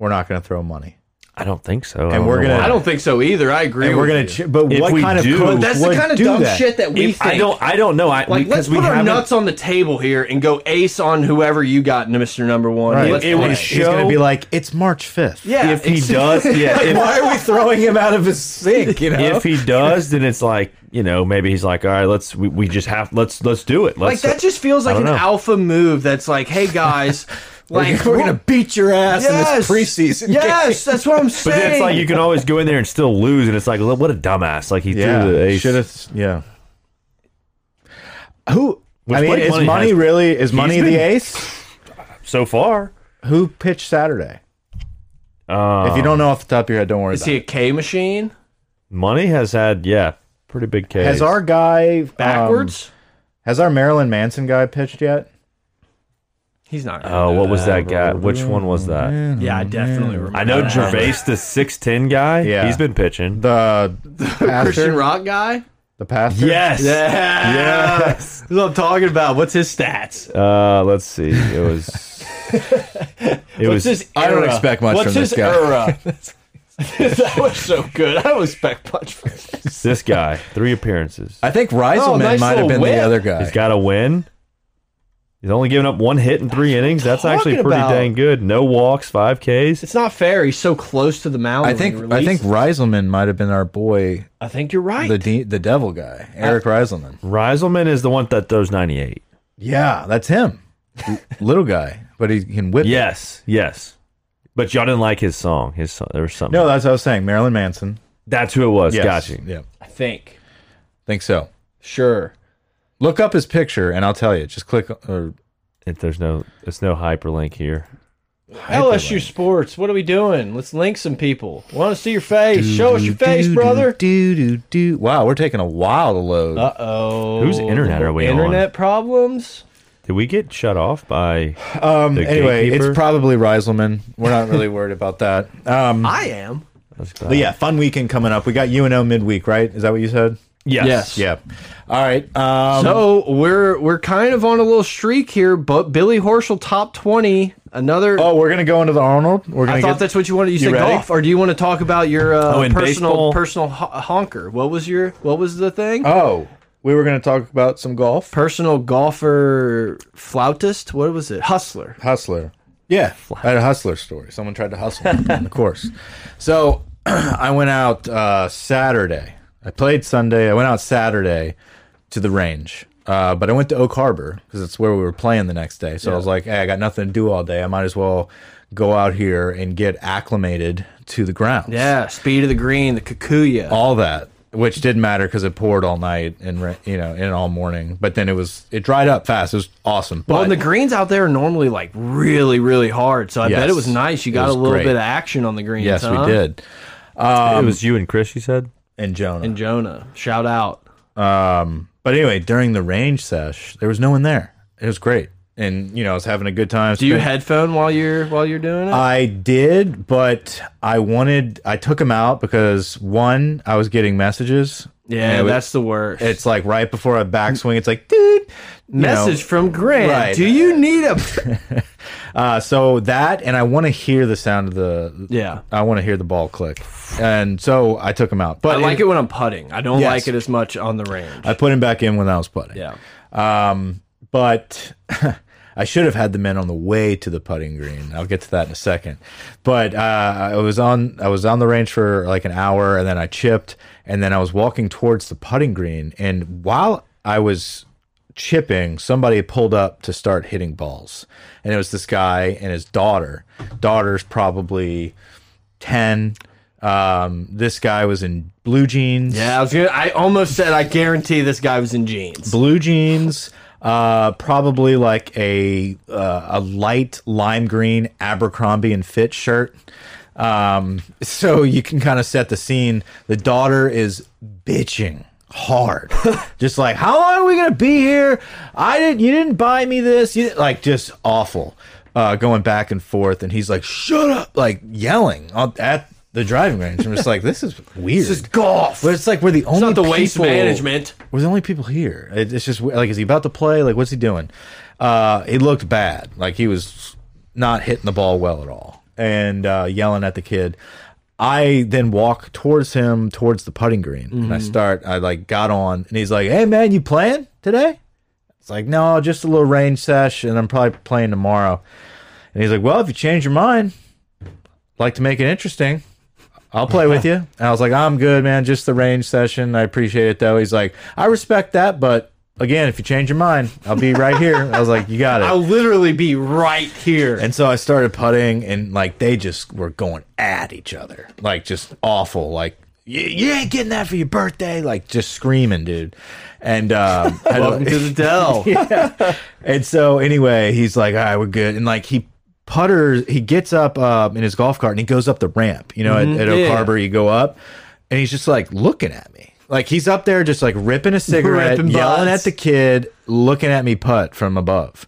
Speaker 1: we're not going to throw money.
Speaker 4: I don't think so. I
Speaker 1: And
Speaker 4: don't
Speaker 1: we're
Speaker 4: know
Speaker 1: gonna-
Speaker 4: why.
Speaker 2: I don't think so either. I agree.
Speaker 1: And we're
Speaker 2: with
Speaker 1: gonna,
Speaker 2: you.
Speaker 1: ch- but
Speaker 4: If
Speaker 1: what
Speaker 4: we
Speaker 1: kind
Speaker 4: do-
Speaker 1: of coach
Speaker 4: But
Speaker 2: That's the
Speaker 1: would
Speaker 2: kind of
Speaker 1: do
Speaker 2: dumb
Speaker 1: that?
Speaker 2: shit that we
Speaker 4: If-
Speaker 2: think.
Speaker 4: I don't. I don't know. I,
Speaker 2: Like, let's
Speaker 4: because we
Speaker 2: put our
Speaker 4: haven't-
Speaker 2: nuts on the table here and go ace on whoever you got, Mister Number One.
Speaker 1: Right.
Speaker 2: Let's
Speaker 4: It
Speaker 2: play.
Speaker 4: would
Speaker 1: He's gonna
Speaker 4: show-
Speaker 1: be like, it's March fifth.
Speaker 2: Yeah,
Speaker 4: If he
Speaker 2: it's- (laughs)
Speaker 4: does, yeah. If,
Speaker 1: Why are we throwing him out of his sink? (laughs) You know.
Speaker 4: if he does, then it's like you know maybe he's like, all right, let's we, we just have let's let's do it.
Speaker 2: like
Speaker 4: Let's
Speaker 2: that just feels like
Speaker 4: I
Speaker 2: an
Speaker 4: don't know.
Speaker 2: alpha move. That's like, hey
Speaker 4: (laughs)
Speaker 2: guys, (laughs) like
Speaker 1: we're gonna beat your ass in this preseason. (laughs) game.
Speaker 2: Yes, that's what I'm
Speaker 4: (laughs) But
Speaker 2: saying.
Speaker 4: then it's like you can always go in there and still lose, and it's like "Look, what a dumbass. Like he
Speaker 1: Yeah.
Speaker 4: threw the ace.
Speaker 1: Should have. Yeah. Who?
Speaker 4: Which
Speaker 1: I mean,
Speaker 4: Blake
Speaker 1: is
Speaker 4: Money
Speaker 1: money,
Speaker 4: has-
Speaker 1: really? Is money
Speaker 4: been-
Speaker 1: the ace?
Speaker 4: so far.
Speaker 1: Who pitched Saturday?
Speaker 4: Uh,
Speaker 1: if you don't know off the top of your head, don't worry
Speaker 2: Is
Speaker 1: about
Speaker 2: he
Speaker 1: it.
Speaker 2: a K machine
Speaker 4: money has had yeah pretty big case.
Speaker 1: Has our guy um,
Speaker 2: backwards?
Speaker 1: has our Marilyn Manson guy pitched yet?
Speaker 2: He's not. gonna
Speaker 4: oh
Speaker 2: do
Speaker 4: what was that guy? Which one was that?
Speaker 2: Yeah, I definitely remember.
Speaker 4: I know
Speaker 2: that.
Speaker 4: Gervais the six ten guy.
Speaker 1: Yeah.
Speaker 4: he's been pitching.
Speaker 1: The,
Speaker 2: (laughs)
Speaker 1: pastor,
Speaker 2: Christian Rock guy.
Speaker 1: the pastor.
Speaker 4: Yes.
Speaker 2: Yeah,
Speaker 4: Yes.
Speaker 2: That's what I'm talking about. What's his stats?
Speaker 4: Uh, let's see.
Speaker 1: (laughs)
Speaker 4: It was. It
Speaker 2: What's
Speaker 4: was.
Speaker 2: his
Speaker 1: I
Speaker 2: era?
Speaker 1: don't expect much
Speaker 2: What's
Speaker 1: from
Speaker 2: his
Speaker 1: this guy. (laughs)
Speaker 2: era? (laughs) that was so good. I don't expect much from this.
Speaker 4: this guy three appearances.
Speaker 1: I think Reiselman
Speaker 2: Oh, nice
Speaker 1: might have
Speaker 2: little
Speaker 1: been
Speaker 2: whip.
Speaker 1: the other guy.
Speaker 4: He's got a win. He's only given up one hit in three innings. That's actually
Speaker 2: talking
Speaker 4: pretty
Speaker 2: about?
Speaker 4: dang good. No walks, five Ks.
Speaker 2: It's not fair. He's so close to the mound.
Speaker 1: I
Speaker 2: when he
Speaker 1: think I think
Speaker 2: releases.
Speaker 1: Reiselman might have been our boy,
Speaker 2: I think you're right.
Speaker 1: the de the devil guy, Eric Reiselman.
Speaker 4: Reiselman is the one that throws ninety eight.
Speaker 1: Yeah, that's him, little guy, but he can whip. it.
Speaker 4: Yes, yes. But y'all didn't like his song. His song, there was something.
Speaker 1: No, that's what I was saying. Marilyn Manson.
Speaker 4: that's who it was.
Speaker 1: Yes.
Speaker 4: Gotcha.
Speaker 1: Yeah,
Speaker 2: I think.
Speaker 1: think so.
Speaker 2: Sure.
Speaker 1: Look up his picture, and I'll tell you. Just click. uh, Or
Speaker 4: If there's no, it's no hyperlink here.
Speaker 2: LSU sports. What are we doing? Let's link some people. Want to see your face? Show us your face, brother.
Speaker 1: Do do do. Wow, we're taking a while to load.
Speaker 2: Uh oh.
Speaker 4: Whose internet are we on?
Speaker 2: Internet problems.
Speaker 4: Did we get shut off by?
Speaker 1: um.
Speaker 4: the
Speaker 1: Anyway,
Speaker 4: gatekeeper?
Speaker 1: it's probably Reiselman. We're not (laughs) really worried about that. Um.
Speaker 2: I am.
Speaker 1: But yeah, fun weekend coming up. We got UNO midweek, right? Is that what you said?
Speaker 4: Yes.
Speaker 2: Yes.
Speaker 1: Yeah. All right. Um,
Speaker 2: So we're we're kind of on a little streak here, but Billy Horschel top twenty. Another.
Speaker 1: Oh, we're gonna go into the Arnold. We're gonna
Speaker 2: I
Speaker 1: get
Speaker 2: thought that's what you wanted. You,
Speaker 1: You
Speaker 2: said
Speaker 1: ready?
Speaker 2: golf, or do you want to talk about your uh,
Speaker 4: Oh, in
Speaker 2: personal
Speaker 4: baseball?
Speaker 2: personal ho honker? What was your what was the thing?
Speaker 1: Oh, we were going to talk about some golf.
Speaker 2: personal golfer flautist. What was it? Hustler.
Speaker 1: Hustler. Yeah, I had a hustler story. Someone tried to hustle me
Speaker 2: (laughs)
Speaker 1: on the course. So (clears throat) I went out uh, Saturday. I played Sunday. I went out Saturday to the range. Uh, but I went to Oak Harbor because it's where we were playing the next day. So I was like, hey, I got nothing to do all day. I might as well go out here and get acclimated to the grounds.
Speaker 2: Yeah, speed of the green, the Kikuya.
Speaker 1: all that, which didn't matter because it poured all night and ra- you know and all morning. But then it was it dried up fast. It was awesome. But
Speaker 2: well, and the greens out there are normally like really, really hard. So I
Speaker 1: Yes.
Speaker 2: bet it was nice. You
Speaker 1: It
Speaker 2: got a
Speaker 1: was
Speaker 2: little
Speaker 1: great.
Speaker 2: bit of action on the greens.
Speaker 1: yes,
Speaker 2: huh?
Speaker 1: we did.
Speaker 4: it was you and Chris. You said.
Speaker 1: and Jonah.
Speaker 2: And Jonah, shout out.
Speaker 1: um, but anyway, during the range sesh, there was no one there. It was great, and you know, I was having a good time.
Speaker 2: Do you
Speaker 1: Spent-
Speaker 2: headphone while you're while you're doing it?
Speaker 1: I did, but I wanted. I took him out because one, I was getting messages. And
Speaker 2: yeah,
Speaker 1: it was-
Speaker 2: that's the worst.
Speaker 1: It's like right before a backswing. It's like, dude, you know,
Speaker 2: Message from Grant.
Speaker 1: Right.
Speaker 2: Do you need a?
Speaker 1: Uh, so that, and I want to hear the sound of the.
Speaker 2: Yeah.
Speaker 1: I want to hear the ball click, and so I took him out. (laughs) But
Speaker 2: I like it when I'm putting. I don't
Speaker 1: Yes.
Speaker 2: like it as much on the range.
Speaker 1: I put him back in when I was putting.
Speaker 2: yeah.
Speaker 1: Um, but (laughs) I should have had the men on the way to the putting green. I'll get to that in a second. But uh, I was on I was on the range for like an hour, and then I chipped, and then I was walking towards the putting green, and while I was chipping, somebody pulled up to start hitting balls, and it was this guy and his daughter. Daughter's probably ten. Um, this guy was in blue jeans
Speaker 2: Yeah, I was gonna. I almost said I guarantee this guy was in jeans.
Speaker 1: blue jeans, uh, probably like a uh, a light lime green Abercrombie and Fitch shirt. Um, so you can kind of set the scene. The daughter is bitching
Speaker 2: (laughs)
Speaker 1: hard, just like how long are we gonna be here? I didn't. You didn't buy me this. You didn't-" like just awful. Uh, going back and forth, and he's like, "Shut up!" Like yelling on- at the driving range. I'm just like, "This is weird."
Speaker 2: (laughs) This is golf.
Speaker 1: but it's like we're the only
Speaker 2: not the waste
Speaker 1: people-
Speaker 2: management.
Speaker 1: we're the only people here. It- It's just like, is he about to play? Like, what's he doing? Uh, he looked bad. Like he was not hitting the ball well at all, and uh, yelling at the kid. I then walk towards him, towards the putting green, and I start. I like got on, and he's like, "Hey man, you playing today?" It's like, "No, just a little range sesh, and I'm probably playing tomorrow." And he's like, "Well, if you change your mind, like to make it interesting." I'll play with you. And I was like, I'm good, man. Just the range session. I appreciate it, though. He's like, I respect that, but again, if you change your mind, I'll be right here. I was like, you got it.
Speaker 2: I'll literally be right here.
Speaker 1: And so I started putting, and like they just were going at each other, like just awful, like you, you ain't getting that for your birthday, like just screaming, dude. And um,
Speaker 2: (laughs)
Speaker 1: I
Speaker 2: Welcome to the
Speaker 1: (laughs)
Speaker 2: Dell.
Speaker 1: and so anyway, he's like, all right, we're good. And like he putters, he gets up um, in his golf cart and he goes up the ramp. You know, at, at Oak
Speaker 2: Mm-hmm. Yeah.
Speaker 1: Harbor, you go up, and he's just like looking at me. Like he's up there just like ripping a cigarette,
Speaker 2: (laughs) Ripping
Speaker 1: yelling
Speaker 2: butts.
Speaker 1: at the kid, looking at me putt from above.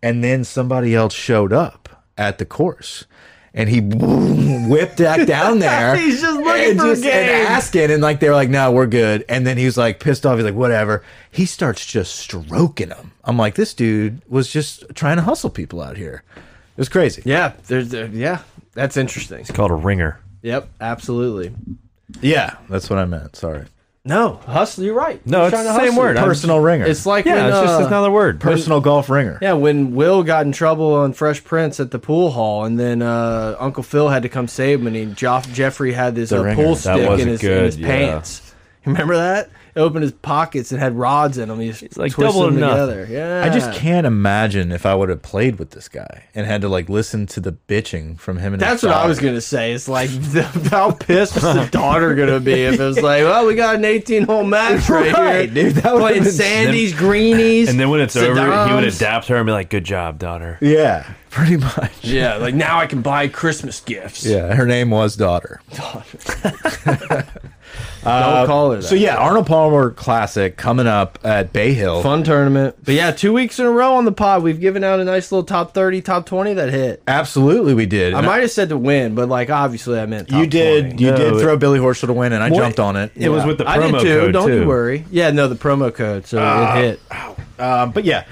Speaker 1: And then somebody else showed up at the course. And he (laughs) whipped back down there.
Speaker 2: (laughs) He's just looking
Speaker 1: and
Speaker 2: for a game.
Speaker 1: And asking, and like they were like, "No, we're good." And then he's like pissed off. He's like, "Whatever." He starts just stroking him. I'm like, this dude was just trying to hustle people out here. It was crazy.
Speaker 2: yeah, there's there- yeah. That's interesting.
Speaker 4: It's called a ringer.
Speaker 2: Yep, absolutely.
Speaker 1: Yeah, that's what I meant. Sorry.
Speaker 2: No, hustle. You're right.
Speaker 4: No,
Speaker 2: He's
Speaker 4: it's
Speaker 2: trying
Speaker 4: the
Speaker 2: to
Speaker 4: same
Speaker 2: hustle.
Speaker 4: word. I'm-
Speaker 1: Personal ringer.
Speaker 2: It's like
Speaker 4: yeah,
Speaker 2: when,
Speaker 4: it's just
Speaker 2: uh,
Speaker 4: another word.
Speaker 1: personal golf ringer.
Speaker 2: Yeah, when Will got in trouble on Fresh Prince at the pool hall, and then uh, Uncle Phil had to come save him, and he, Joff, Jeffrey had this uh,
Speaker 1: ringer.
Speaker 2: pool
Speaker 1: That
Speaker 2: stick in
Speaker 4: wasn't
Speaker 2: his, in
Speaker 4: good,
Speaker 2: his
Speaker 4: yeah.
Speaker 2: pants. Remember that? It opened his pockets and had rods in them. He just
Speaker 4: like
Speaker 2: twisted
Speaker 4: double or
Speaker 2: them
Speaker 4: nothing.
Speaker 2: together. Yeah,
Speaker 1: I just can't imagine if I would have played with this guy and had to like listen to the bitching from him. And his
Speaker 2: That's what I
Speaker 1: dog.
Speaker 2: was gonna say. It's like (laughs) the, how pissed is the daughter gonna be if it
Speaker 1: (laughs)
Speaker 2: was like, well, we got an 18 hole match right,
Speaker 1: Right,
Speaker 2: here,
Speaker 1: dude, that would've
Speaker 2: playing
Speaker 1: been-
Speaker 2: Sandy's greenies,
Speaker 4: And then when it's over, he would
Speaker 2: Saddams.
Speaker 4: adapt her and be like, "Good job, daughter."
Speaker 1: Yeah, pretty much.
Speaker 2: Yeah, like now I can buy Christmas gifts.
Speaker 1: Yeah, her name was daughter.
Speaker 4: Uh,
Speaker 2: Don't call it. That.
Speaker 1: So yeah, Arnold Palmer Classic coming up at Bay Hill.
Speaker 2: Fun tournament. But yeah, two weeks in a row on the pod, we've given out a nice little top 30, top 20 that hit.
Speaker 1: Absolutely, we did.
Speaker 2: I
Speaker 1: And
Speaker 2: might have said to win, but like obviously I meant top
Speaker 1: You did.
Speaker 2: 20.
Speaker 1: You
Speaker 4: No,
Speaker 1: did
Speaker 4: it-
Speaker 1: throw Billy Horschel to win, and I
Speaker 4: Well,
Speaker 1: jumped on it.
Speaker 4: It was with the promo
Speaker 2: I did too.
Speaker 4: code
Speaker 2: Don't
Speaker 4: too.
Speaker 2: you worry. Yeah, no, the promo code, so
Speaker 1: Ah.
Speaker 2: it hit.
Speaker 1: Um, but yeah,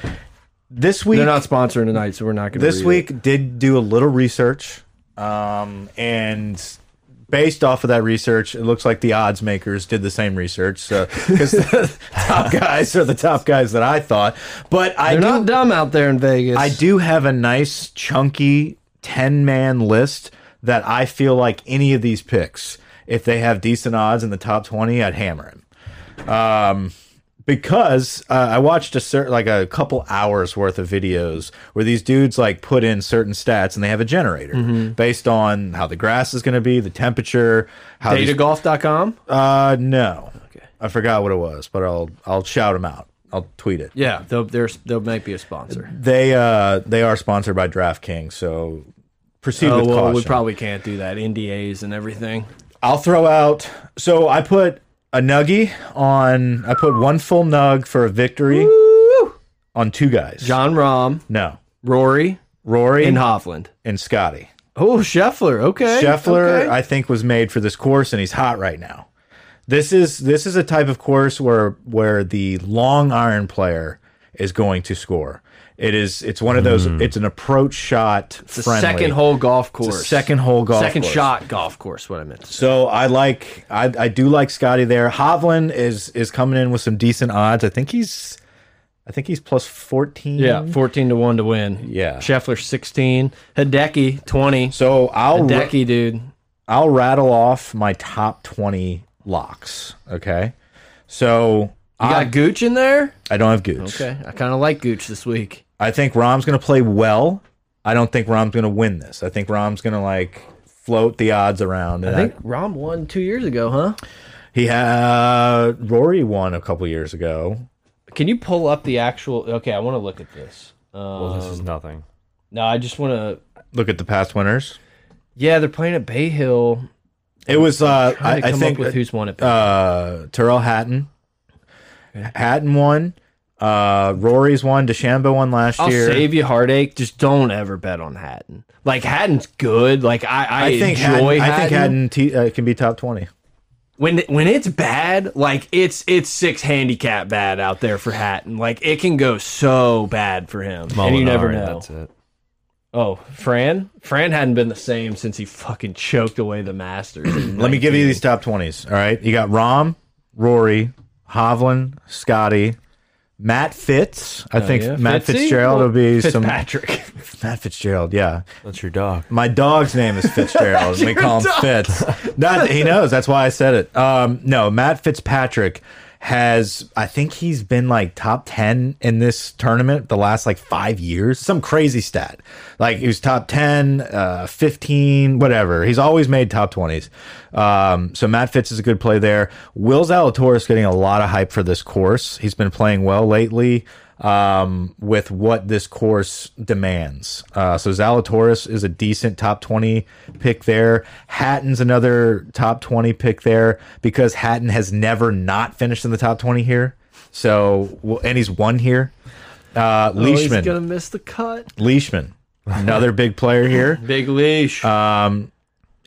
Speaker 1: this week,
Speaker 2: They're not sponsoring tonight, so we're not going to.
Speaker 1: this week did do a little research, um, and based off of that research, it looks like the odds makers did the same research. So because the top guys are the top guys that I thought, but I
Speaker 2: they're
Speaker 1: do
Speaker 2: not dumb out there in Vegas.
Speaker 1: I do have a nice chunky 10 man list that I feel like any of these picks, if they have decent odds in the top 20, I'd hammer him. Um, because uh, I watched a certain, like a couple hours worth of videos where these dudes like put in certain stats and they have a generator based on how the grass is going to be, the temperature, how these
Speaker 2: Datagolf.com.
Speaker 1: uh, no, okay. I forgot what it was, but I'll I'll shout them out. I'll tweet it.
Speaker 2: Yeah, they'll they're, they'll make be a sponsor.
Speaker 1: They uh they are sponsored by DraftKings, so proceed
Speaker 2: Oh
Speaker 1: with
Speaker 2: well,
Speaker 1: caution.
Speaker 2: we probably can't do that. NDAs and everything.
Speaker 1: I'll throw out. So I put a nuggie on. I put one full nug for a victory on two guys.
Speaker 2: John Rahm,
Speaker 1: no,
Speaker 2: Rory,
Speaker 1: Rory
Speaker 2: and
Speaker 1: and,
Speaker 2: Hovland.
Speaker 1: Scotty.
Speaker 2: Oh, Scheffler. Okay,
Speaker 1: Scheffler,
Speaker 2: okay.
Speaker 1: I think, was made for this course, and he's hot right now. This is this is a type of course where where the long iron player is going to score. It is it's one of those. It's an approach shot.
Speaker 2: Hmm. the
Speaker 1: friendly.
Speaker 2: second hole golf course.
Speaker 1: It's a second hole golf.
Speaker 2: second
Speaker 1: course.
Speaker 2: shot golf course. What I meant. To say.
Speaker 1: So I like I, I do like Scotty there. Hovland is is coming in with some decent odds. I think he's I think he's plus fourteen.
Speaker 2: Yeah, fourteen to one to win.
Speaker 1: Mm-hmm. Yeah.
Speaker 2: Scheffler sixteen, Hideki twenty.
Speaker 1: So I'll ra-
Speaker 2: Hideki, dude.
Speaker 1: I'll rattle off my top twenty locks. Okay. So
Speaker 2: You
Speaker 1: I,
Speaker 2: got Gooch in there.
Speaker 1: I don't have Gooch.
Speaker 2: Okay, I kind of like Gooch this week.
Speaker 1: I think Rom's gonna play well. I don't think Rom's gonna win this. I think Rom's gonna like float the odds around. And
Speaker 2: I think Rom won two years ago, huh?
Speaker 1: he had Rory won a couple years ago.
Speaker 2: Can you pull up the actual? Okay, I want to look at this. Um,
Speaker 4: Well, this is nothing.
Speaker 2: No, I just want to.
Speaker 1: Look at the past winners.
Speaker 2: Yeah, they're playing at Bay Hill.
Speaker 1: It was uh, I,
Speaker 2: I,
Speaker 1: I
Speaker 2: come
Speaker 1: think
Speaker 2: up with who's won at Bay
Speaker 1: uh, Terrell Hatton. Hatton won. Uh, Rory's won. DeChambeau won last
Speaker 2: I'll
Speaker 1: year.
Speaker 2: save you heartache. Just don't ever bet on Hatton. Like Hatton's good. Like I, I,
Speaker 1: I think Hatton,
Speaker 2: enjoy Hatton.
Speaker 1: I think Hatton t uh, can be top twenty.
Speaker 2: When when it's bad, like it's it's six handicap bad out there for Hatton. Like it can go so bad for him, and you never
Speaker 4: Molinari,
Speaker 2: know.
Speaker 4: That's it.
Speaker 2: Oh, Fran? Fran hadn't been the same since he fucking choked away the
Speaker 1: (clears throat)
Speaker 2: Masters.
Speaker 1: Let me give you these top 20s. All right. You got Rom, Rory, Hovland, Scotty, Matt Fitz. I think Matt Fitzgerald will be
Speaker 2: (laughs)
Speaker 1: some.
Speaker 2: Patrick.
Speaker 1: Matt Fitzgerald, yeah.
Speaker 4: That's your dog.
Speaker 1: My dog's name is Fitzgerald. and we call him Fitz. That, he knows. That's why I said it. Um, no, Matt Fitzpatrick has, I think he's been like top 10 in this tournament the last like five years. Some crazy stat. Like he was top 10, uh, 15, whatever. He's always made top 20s. Um, so Matt Fitz is a good play there. Will Zalatoris getting a lot of hype for this course. He's been playing well lately um, with what this course demands. Uh, so Zalatoris is a decent top 20 pick there. Hatton's another top 20 pick there because Hatton has never not finished in the top 20 here. So, well, and he's won here. Uh,
Speaker 2: Oh, he's
Speaker 1: Leishman,
Speaker 2: gonna Mm-hmm. miss the cut.
Speaker 1: Leishman, another big player here.
Speaker 2: Big leash.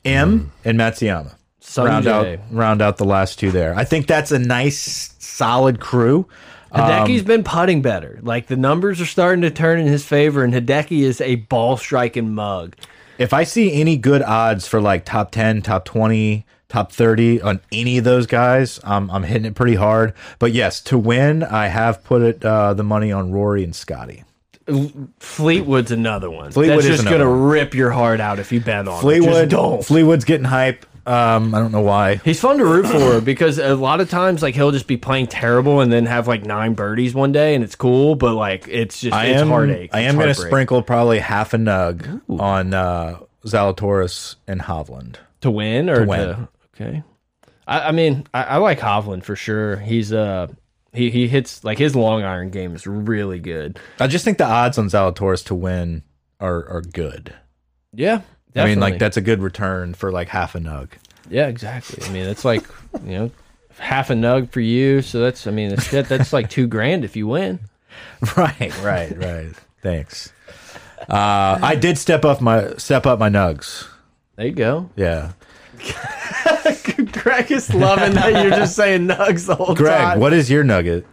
Speaker 1: M
Speaker 2: Mm-hmm.
Speaker 1: and Matsuyama. Round out,
Speaker 2: Sunday.
Speaker 1: round out the last two there. I think that's a nice, solid crew.
Speaker 2: Hideki's been putting better. Like the numbers are starting to turn in his favor, and Hideki is a ball striking mug.
Speaker 1: if I see any good odds for like top 10, top 20, top 30 on any of those guys, I'm, I'm hitting it pretty hard. But yes, to win, I have put it uh, the money on Rory and Scotty.
Speaker 2: Fleetwood's another one.
Speaker 1: Fleetwood
Speaker 2: That's
Speaker 1: is
Speaker 2: just
Speaker 1: another
Speaker 2: gonna
Speaker 1: one.
Speaker 2: rip your heart out if you bet on It. Just
Speaker 1: Fleetwood,
Speaker 2: don't.
Speaker 1: Fleetwood's getting hype. Um, I don't know why.
Speaker 2: He's fun to root for because a lot of times, like he'll just be playing terrible and then have like nine birdies one day, and it's cool. But like it's just
Speaker 1: I
Speaker 2: it's
Speaker 1: am,
Speaker 2: heartache.
Speaker 1: I
Speaker 2: It's
Speaker 1: am going to
Speaker 2: heartbreak.
Speaker 1: sprinkle probably half a nug on uh, Zalatoris and Hovland.
Speaker 2: to win or to
Speaker 1: win.
Speaker 2: okay. I, I mean, I, I like Hovland for sure. He's uh he he hits like his long iron game is really good.
Speaker 1: I just think the odds on Zalatoris to win are, are good.
Speaker 2: Yeah,
Speaker 1: I mean, like
Speaker 2: that.
Speaker 1: that's a good return for like half a nug.
Speaker 2: Yeah, exactly. I mean, it's like (laughs) you know. Half a nug for you, so that's I mean that's that, that's like two grand if you win.
Speaker 1: (laughs) Right, right, right. Thanks. Uh, I did step up my step up my nugs.
Speaker 2: There you go.
Speaker 1: Yeah,
Speaker 2: (laughs) Greg is loving that you're just saying nugs the whole
Speaker 1: Greg, what is your nugget?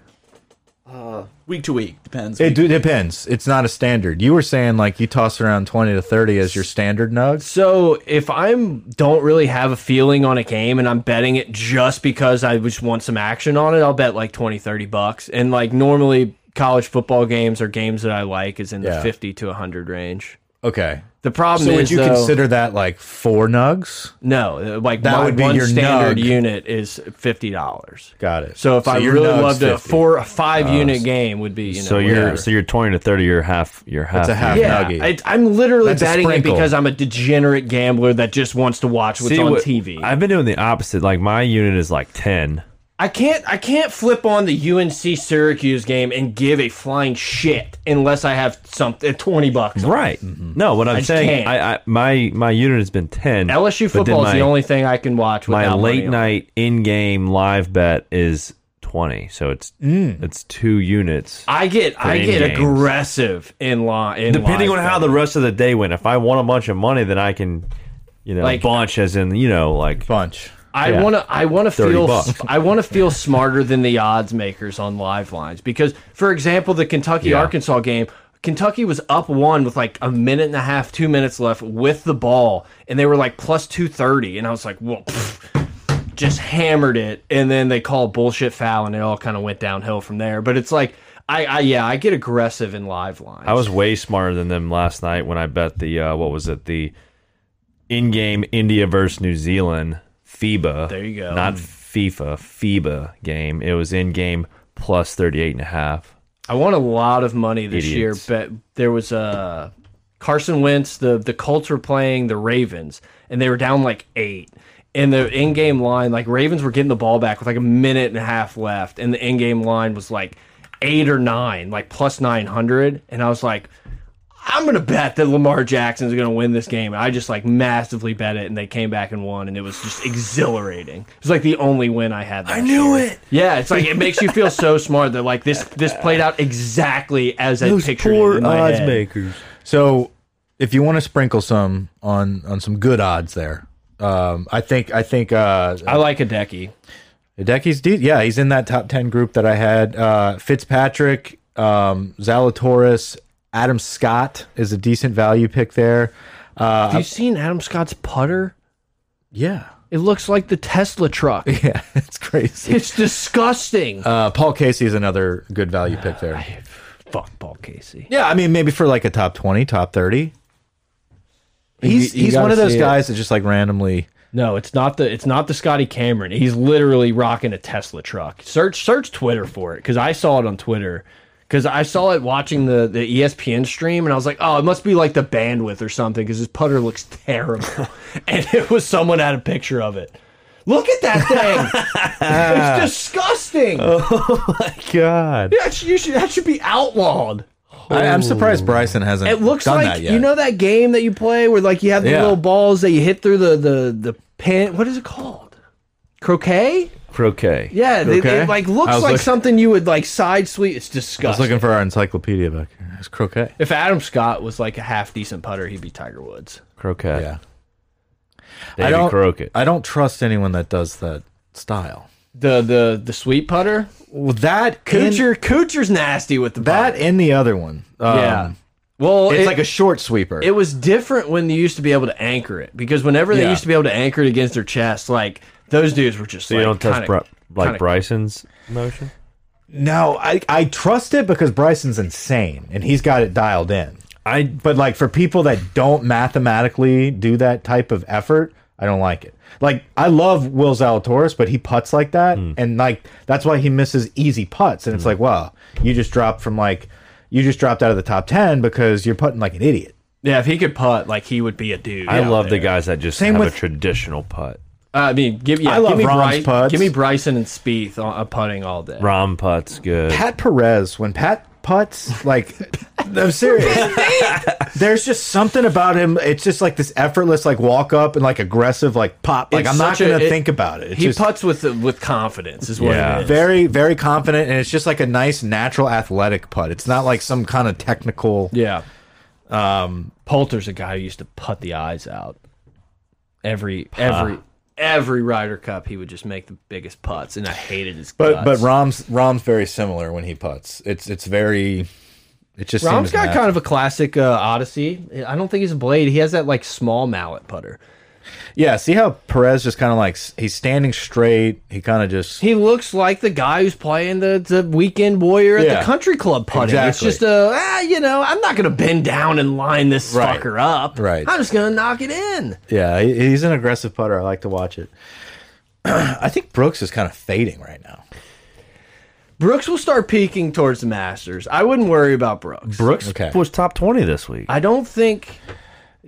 Speaker 2: Uh,
Speaker 3: Week to week depends.
Speaker 1: It d- depends. It's not a standard. You were saying like you toss around twenty to thirty as your standard nugs.
Speaker 2: So if I'm don't really have a feeling on a game and I'm betting it just because I just want some action on it, I'll bet like 20, 30 bucks. And like normally college football games or games that I like is in the
Speaker 1: Yeah.
Speaker 2: 50 to 100 range.
Speaker 1: Okay.
Speaker 2: The problem
Speaker 1: So
Speaker 2: is uh,
Speaker 1: would you
Speaker 2: though,
Speaker 1: consider that like four nugs?
Speaker 2: no, like
Speaker 1: That
Speaker 2: my
Speaker 1: would be
Speaker 2: one
Speaker 1: your
Speaker 2: standard
Speaker 1: nug.
Speaker 2: unit is $50.
Speaker 1: Got it.
Speaker 2: So if I
Speaker 1: your
Speaker 2: really
Speaker 1: nugs Oh,
Speaker 2: loved a
Speaker 1: 50.
Speaker 2: four a five unit game would be you know
Speaker 4: So you're
Speaker 2: whatever.
Speaker 4: so you're twenty to thirty. You're half. You're half.
Speaker 1: a half.
Speaker 4: unit.
Speaker 2: yeah,
Speaker 1: nuggy.
Speaker 2: I, I'm literally
Speaker 1: That's a
Speaker 2: betting it
Speaker 1: sprinkle.
Speaker 2: because I'm a degenerate gambler that just wants to watch what's
Speaker 4: See,
Speaker 2: on
Speaker 4: what-
Speaker 2: TV.
Speaker 4: I've been doing the opposite. Like my unit is like ten.
Speaker 2: I can't I can't flip on the UNC Syracuse game and give a flying shit unless I have something uh, twenty bucks.
Speaker 4: Right. No, what I'm
Speaker 2: Mm-hmm. just
Speaker 4: saying,
Speaker 2: can't.
Speaker 4: I, I my my unit has been ten.
Speaker 2: LSU
Speaker 4: but then
Speaker 2: football is the
Speaker 4: my-
Speaker 2: only thing I can watch.
Speaker 4: My
Speaker 2: without money
Speaker 4: late
Speaker 2: on.
Speaker 4: night in game live bet is twenty. So it's it's two units.
Speaker 2: Mm. I get I
Speaker 4: in
Speaker 2: get
Speaker 4: games.
Speaker 2: aggressive in law. In
Speaker 4: Depending
Speaker 2: live
Speaker 4: on how
Speaker 2: betting.
Speaker 4: the rest of the day went. If I want a bunch of money, then I can, you know,
Speaker 2: Like-
Speaker 4: bunch as in you know like
Speaker 1: bunch.
Speaker 2: I
Speaker 4: Yeah.
Speaker 2: want to. I want to
Speaker 4: 30
Speaker 2: feel.
Speaker 4: bucks.
Speaker 2: I want to feel smarter than the odds makers on live lines because, for example, the Kentucky Arkansas game. Kentucky was up one with like a minute and a half, two minutes left with the ball, and they were like plus two thirty, and I was like, well. pfft, Just hammered it, and then they call bullshit foul, and it all kind of went downhill from there. But it's like, I, I yeah, I get aggressive in live lines.
Speaker 4: I was way smarter than them last night when I bet the uh, what was it the in-game India versus New Zealand FIBA.
Speaker 2: There you go.
Speaker 4: Not FIFA, FIBA game. It was in-game plus 38 and a half.
Speaker 2: I won a lot of money this year,
Speaker 4: Idiots.
Speaker 2: but there was uh, Carson Wentz. The the Colts were playing the Ravens, and they were down like eight. And the in game line, like Ravens were getting the ball back with like a minute and a half left, and the in game line was like eight or nine, like plus nine hundred. And I was like, I'm gonna bet that Lamar Jackson's gonna win this game. And I just like massively bet it, and they came back and won, and it was just exhilarating. It was like the only win I had. That I knew it. Yeah, it's like it makes you feel so smart that like this this played out exactly as I pictured it in my head.
Speaker 4: makers.
Speaker 1: So if you want to sprinkle some on on some good odds there, um, I think I think uh,
Speaker 2: I like Hideki.
Speaker 1: Hideki's deep. Yeah, he's in that top 10 group that I had. Uh, Fitzpatrick, um, Zalatoris, Adam Scott is a decent value pick there. Uh,
Speaker 2: Have you seen Adam Scott's putter?
Speaker 1: yeah,
Speaker 2: It looks like the Tesla truck.
Speaker 1: (laughs) yeah, it's
Speaker 2: (laughs)
Speaker 1: crazy.
Speaker 2: It's disgusting.
Speaker 1: Uh, Paul Casey is another good value pick there.
Speaker 2: Fuck Paul Casey.
Speaker 1: Yeah, I mean maybe for like a top twenty, top thirty.
Speaker 2: You-
Speaker 1: He's
Speaker 2: you
Speaker 1: he's
Speaker 2: gotta
Speaker 1: one of those
Speaker 2: see it.
Speaker 1: guys that just like randomly.
Speaker 2: No, it's not the it's not the Scotty Cameron. He's literally rocking a Tesla truck. Search search Twitter for it because I saw it on Twitter. Because I saw it watching the, E the ESPN stream and I was like, oh, it must be like the bandwidth or something because his putter looks terrible.
Speaker 1: (laughs)
Speaker 2: and it was someone had a picture of it. Look at that
Speaker 1: (laughs)
Speaker 2: thing. it's disgusting.
Speaker 1: Oh.
Speaker 4: God.
Speaker 2: That, should, you should, that should be outlawed.
Speaker 1: I, I'm surprised Bryson hasn't.
Speaker 2: Oh. It looks
Speaker 1: done
Speaker 2: like
Speaker 1: that yet.
Speaker 2: you know that game that you play where like you have the
Speaker 1: Yeah.
Speaker 2: little balls that you hit through the the the pin. What is it called? Croquet?
Speaker 4: Croquet.
Speaker 2: Yeah, they- they-
Speaker 1: Croquet?
Speaker 2: it like
Speaker 1: I
Speaker 2: looks
Speaker 1: was
Speaker 2: like
Speaker 1: look-
Speaker 2: something you would like side sweep. It's
Speaker 1: I was
Speaker 2: disgusting.
Speaker 1: looking for our encyclopedia back here. It's croquet.
Speaker 2: if Adam Scott was like a half decent putter, he'd be Tiger Woods.
Speaker 4: Croquet.
Speaker 1: Yeah,
Speaker 4: David
Speaker 1: I don't.
Speaker 4: Crockett.
Speaker 1: I don't trust anyone that does that style.
Speaker 2: The the the sweet putter,
Speaker 1: Well, that
Speaker 2: Coocher, Coocher's nasty with the
Speaker 1: that and the other one. Um,
Speaker 2: putter. yeah. Well,
Speaker 1: it's
Speaker 2: it-
Speaker 1: like a short sweeper.
Speaker 2: It was different when they used to be able to anchor it because whenever they
Speaker 1: Yeah.
Speaker 2: used to be able to anchor it against their chest, like those dudes were just
Speaker 4: So
Speaker 2: like
Speaker 4: you don't touch
Speaker 2: kinda-
Speaker 4: Bri- like
Speaker 2: kinda-
Speaker 4: Bryson's motion?
Speaker 1: no, I I trust it because Bryson's insane and he's got it dialed in.
Speaker 4: I
Speaker 1: But like for people that don't mathematically do that type of effort, I don't like it. Like I love Will Zalatoris, but he puts like that,
Speaker 2: Hmm.
Speaker 1: and like that's why he misses easy putts. And it's like, wow, you just dropped from like you just dropped out of the top ten because you're putting like an idiot.
Speaker 2: Yeah, if he could putt, like he would be a dude.
Speaker 4: I
Speaker 2: out
Speaker 4: love the
Speaker 2: there.
Speaker 4: guys that just
Speaker 1: Same
Speaker 4: have
Speaker 1: with-
Speaker 4: a traditional putt.
Speaker 2: I mean, give yeah,
Speaker 1: I love
Speaker 2: give me
Speaker 1: Rom's
Speaker 2: Bry-
Speaker 1: putts.
Speaker 2: Give me Bryson and Spieth on, uh, putting all day.
Speaker 4: Rom putts good.
Speaker 1: Pat Perez, when Pat
Speaker 2: (laughs)
Speaker 1: putts, like I'm serious. There's just something about him. It's just like this effortless, like walk up and like aggressive, like pop. Like
Speaker 2: It's
Speaker 1: I'm not
Speaker 2: such a-
Speaker 1: gonna
Speaker 2: it-
Speaker 1: think about it. It's
Speaker 2: he
Speaker 1: just
Speaker 2: putts with with confidence, is what
Speaker 4: Yeah.
Speaker 2: it is.
Speaker 1: very, very confident, and it's just like a nice, natural, athletic putt. It's not like some kind of technical.
Speaker 2: yeah. Um, Poulter's a guy who used to putt the eyes out. Every every Ah. every Ryder Cup, he would just make the biggest putts, and I hated his.
Speaker 1: But but
Speaker 2: guts.
Speaker 1: Rom's Rom's very similar when he putts. It's it's very. It just
Speaker 2: Rom's
Speaker 1: seems
Speaker 2: got
Speaker 1: natural.
Speaker 2: kind of a classic uh, Odyssey. I don't think he's a blade. He has that like small mallet putter.
Speaker 1: yeah. See how Perez just kind of like s- he's standing straight. He kind of just
Speaker 2: He looks like the guy who's playing the, the weekend warrior at
Speaker 1: Yeah.
Speaker 2: the country club putting.
Speaker 1: Exactly.
Speaker 2: It's just a ah, you know I'm not gonna bend down and line this
Speaker 1: Right.
Speaker 2: fucker up.
Speaker 1: Right.
Speaker 2: I'm just gonna knock it in.
Speaker 1: Yeah, he- he's an aggressive putter. I like to watch it. (clears throat) I think Brooks is kind of fading right now.
Speaker 2: Brooks will start peaking towards the Masters. I wouldn't worry about Brooks.
Speaker 4: Brooks
Speaker 1: Okay.
Speaker 4: was top twenty this week.
Speaker 2: I don't think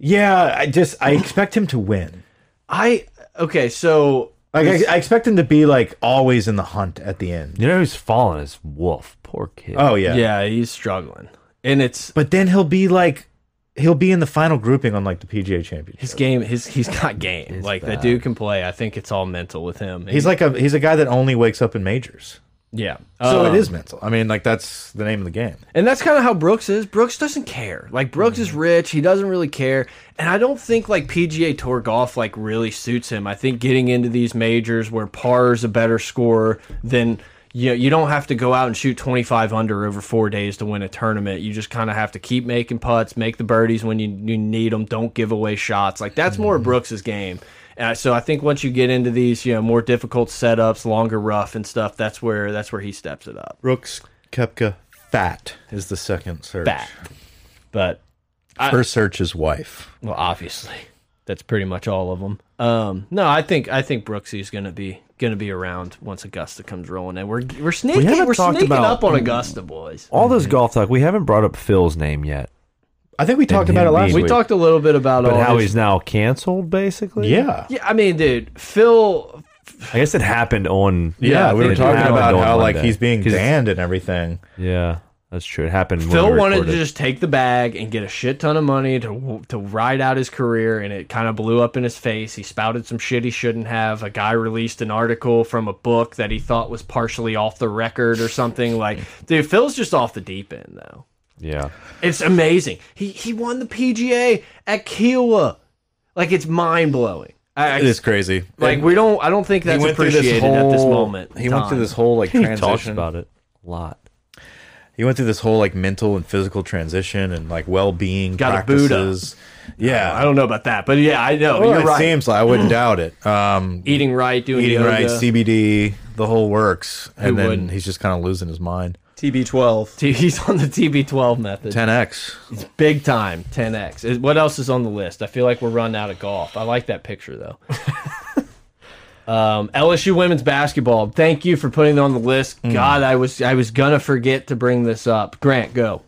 Speaker 1: Yeah, I just I expect him to win.
Speaker 2: I okay. So
Speaker 1: Like I, I expect him to be like always in the hunt at the end.
Speaker 4: you know who's fallen is Wolf. Poor kid.
Speaker 1: Oh yeah.
Speaker 2: yeah, he's struggling, and it's
Speaker 1: But then he'll be like he'll be in the final grouping on like the PGA Championship.
Speaker 2: his game. His he's got game. like that dude can play. I think it's all mental with him.
Speaker 1: He's like a he's a guy that only wakes up in majors.
Speaker 2: yeah.
Speaker 1: So
Speaker 2: Um,
Speaker 1: it is mental. I mean, like that's the name of the game.
Speaker 2: And that's kind of how Brooks is. Brooks doesn't care. Like Brooks is rich, he doesn't really care. And I don't think like PGA Tour golf like really suits him. I think getting into these majors where par is a better score than you know, you don't have to go out and shoot 25 under over 4 days to win a tournament. You just kind of have to keep making putts, make the birdies when you, you need them, don't give away shots. Like that's more Brooks's game. Uh, so I think once you get into these, you know, more difficult setups, longer rough and stuff, that's where that's where he steps it up.
Speaker 1: Brooks Kepka fat is the second search.
Speaker 2: Back. But
Speaker 1: First search is wife.
Speaker 2: Well, obviously, that's pretty much all of them. Um, no, I think I think Brooksy's going to be going to be around once Augusta comes rolling, and we're we're sneaking
Speaker 4: haven't
Speaker 2: we are
Speaker 4: talked
Speaker 2: sneaking
Speaker 4: about-
Speaker 2: up on Augusta, boys.
Speaker 4: All this golf talk, we haven't brought up Phil's name yet.
Speaker 1: I think we talked about it
Speaker 4: him
Speaker 1: last
Speaker 4: being-
Speaker 2: We
Speaker 1: week.
Speaker 2: talked a little bit about
Speaker 4: But
Speaker 2: all
Speaker 4: how
Speaker 2: his-
Speaker 4: he's now canceled, basically.
Speaker 1: yeah.
Speaker 2: Yeah, I mean, dude, Phil.
Speaker 4: I guess it happened on.
Speaker 1: Yeah, we
Speaker 4: it
Speaker 1: were talking
Speaker 4: happened
Speaker 1: about
Speaker 4: on
Speaker 1: how like
Speaker 4: Monday.
Speaker 1: he's being
Speaker 4: 'Cause-
Speaker 1: banned and everything.
Speaker 4: Yeah, that's true. It happened. when
Speaker 2: Phil
Speaker 4: we
Speaker 2: wanted to
Speaker 4: recorded.
Speaker 2: just take the bag and get a shit ton of money to to ride out his career, and it kind of blew up in his face. He spouted some shit he shouldn't have. A guy released an article from a book that he thought was partially off the record or something. Like, dude, Phil's just off the deep end though.
Speaker 4: Yeah.
Speaker 2: It's amazing. He he won the PGA at Kiowa. Like it's mind blowing.
Speaker 1: It is crazy.
Speaker 2: Like we don't. I don't think that's appreciated at this moment. in
Speaker 1: He went
Speaker 2: time. (laughs)
Speaker 1: through this whole like
Speaker 4: He
Speaker 1: transition.
Speaker 4: talks about it a lot.
Speaker 1: he went through this whole like mental and physical transition and like well being
Speaker 2: Got a Buddha.
Speaker 1: practices. Yeah,
Speaker 2: I don't know about that, but yeah, I know.
Speaker 1: Well,
Speaker 2: you're
Speaker 1: it
Speaker 2: right.
Speaker 1: seems like Oh, I
Speaker 2: (clears throat)
Speaker 1: wouldn't doubt it. Um,
Speaker 2: eating right, doing
Speaker 1: eating
Speaker 2: yoga.
Speaker 1: right, CBD, the whole works, and then
Speaker 2: wouldn't?
Speaker 1: he's just kind of losing his mind.
Speaker 3: TB12.
Speaker 2: He's on the TB12 method.
Speaker 1: 10x.
Speaker 2: Big time, 10x. Is- What else is on the list? I feel like we're running out of golf. I like that picture
Speaker 1: (laughs)
Speaker 2: though. um, LSU women's basketball. Thank you for putting it on the list.
Speaker 1: Mm.
Speaker 2: God, I was I was gonna forget to bring this up. Grant, go.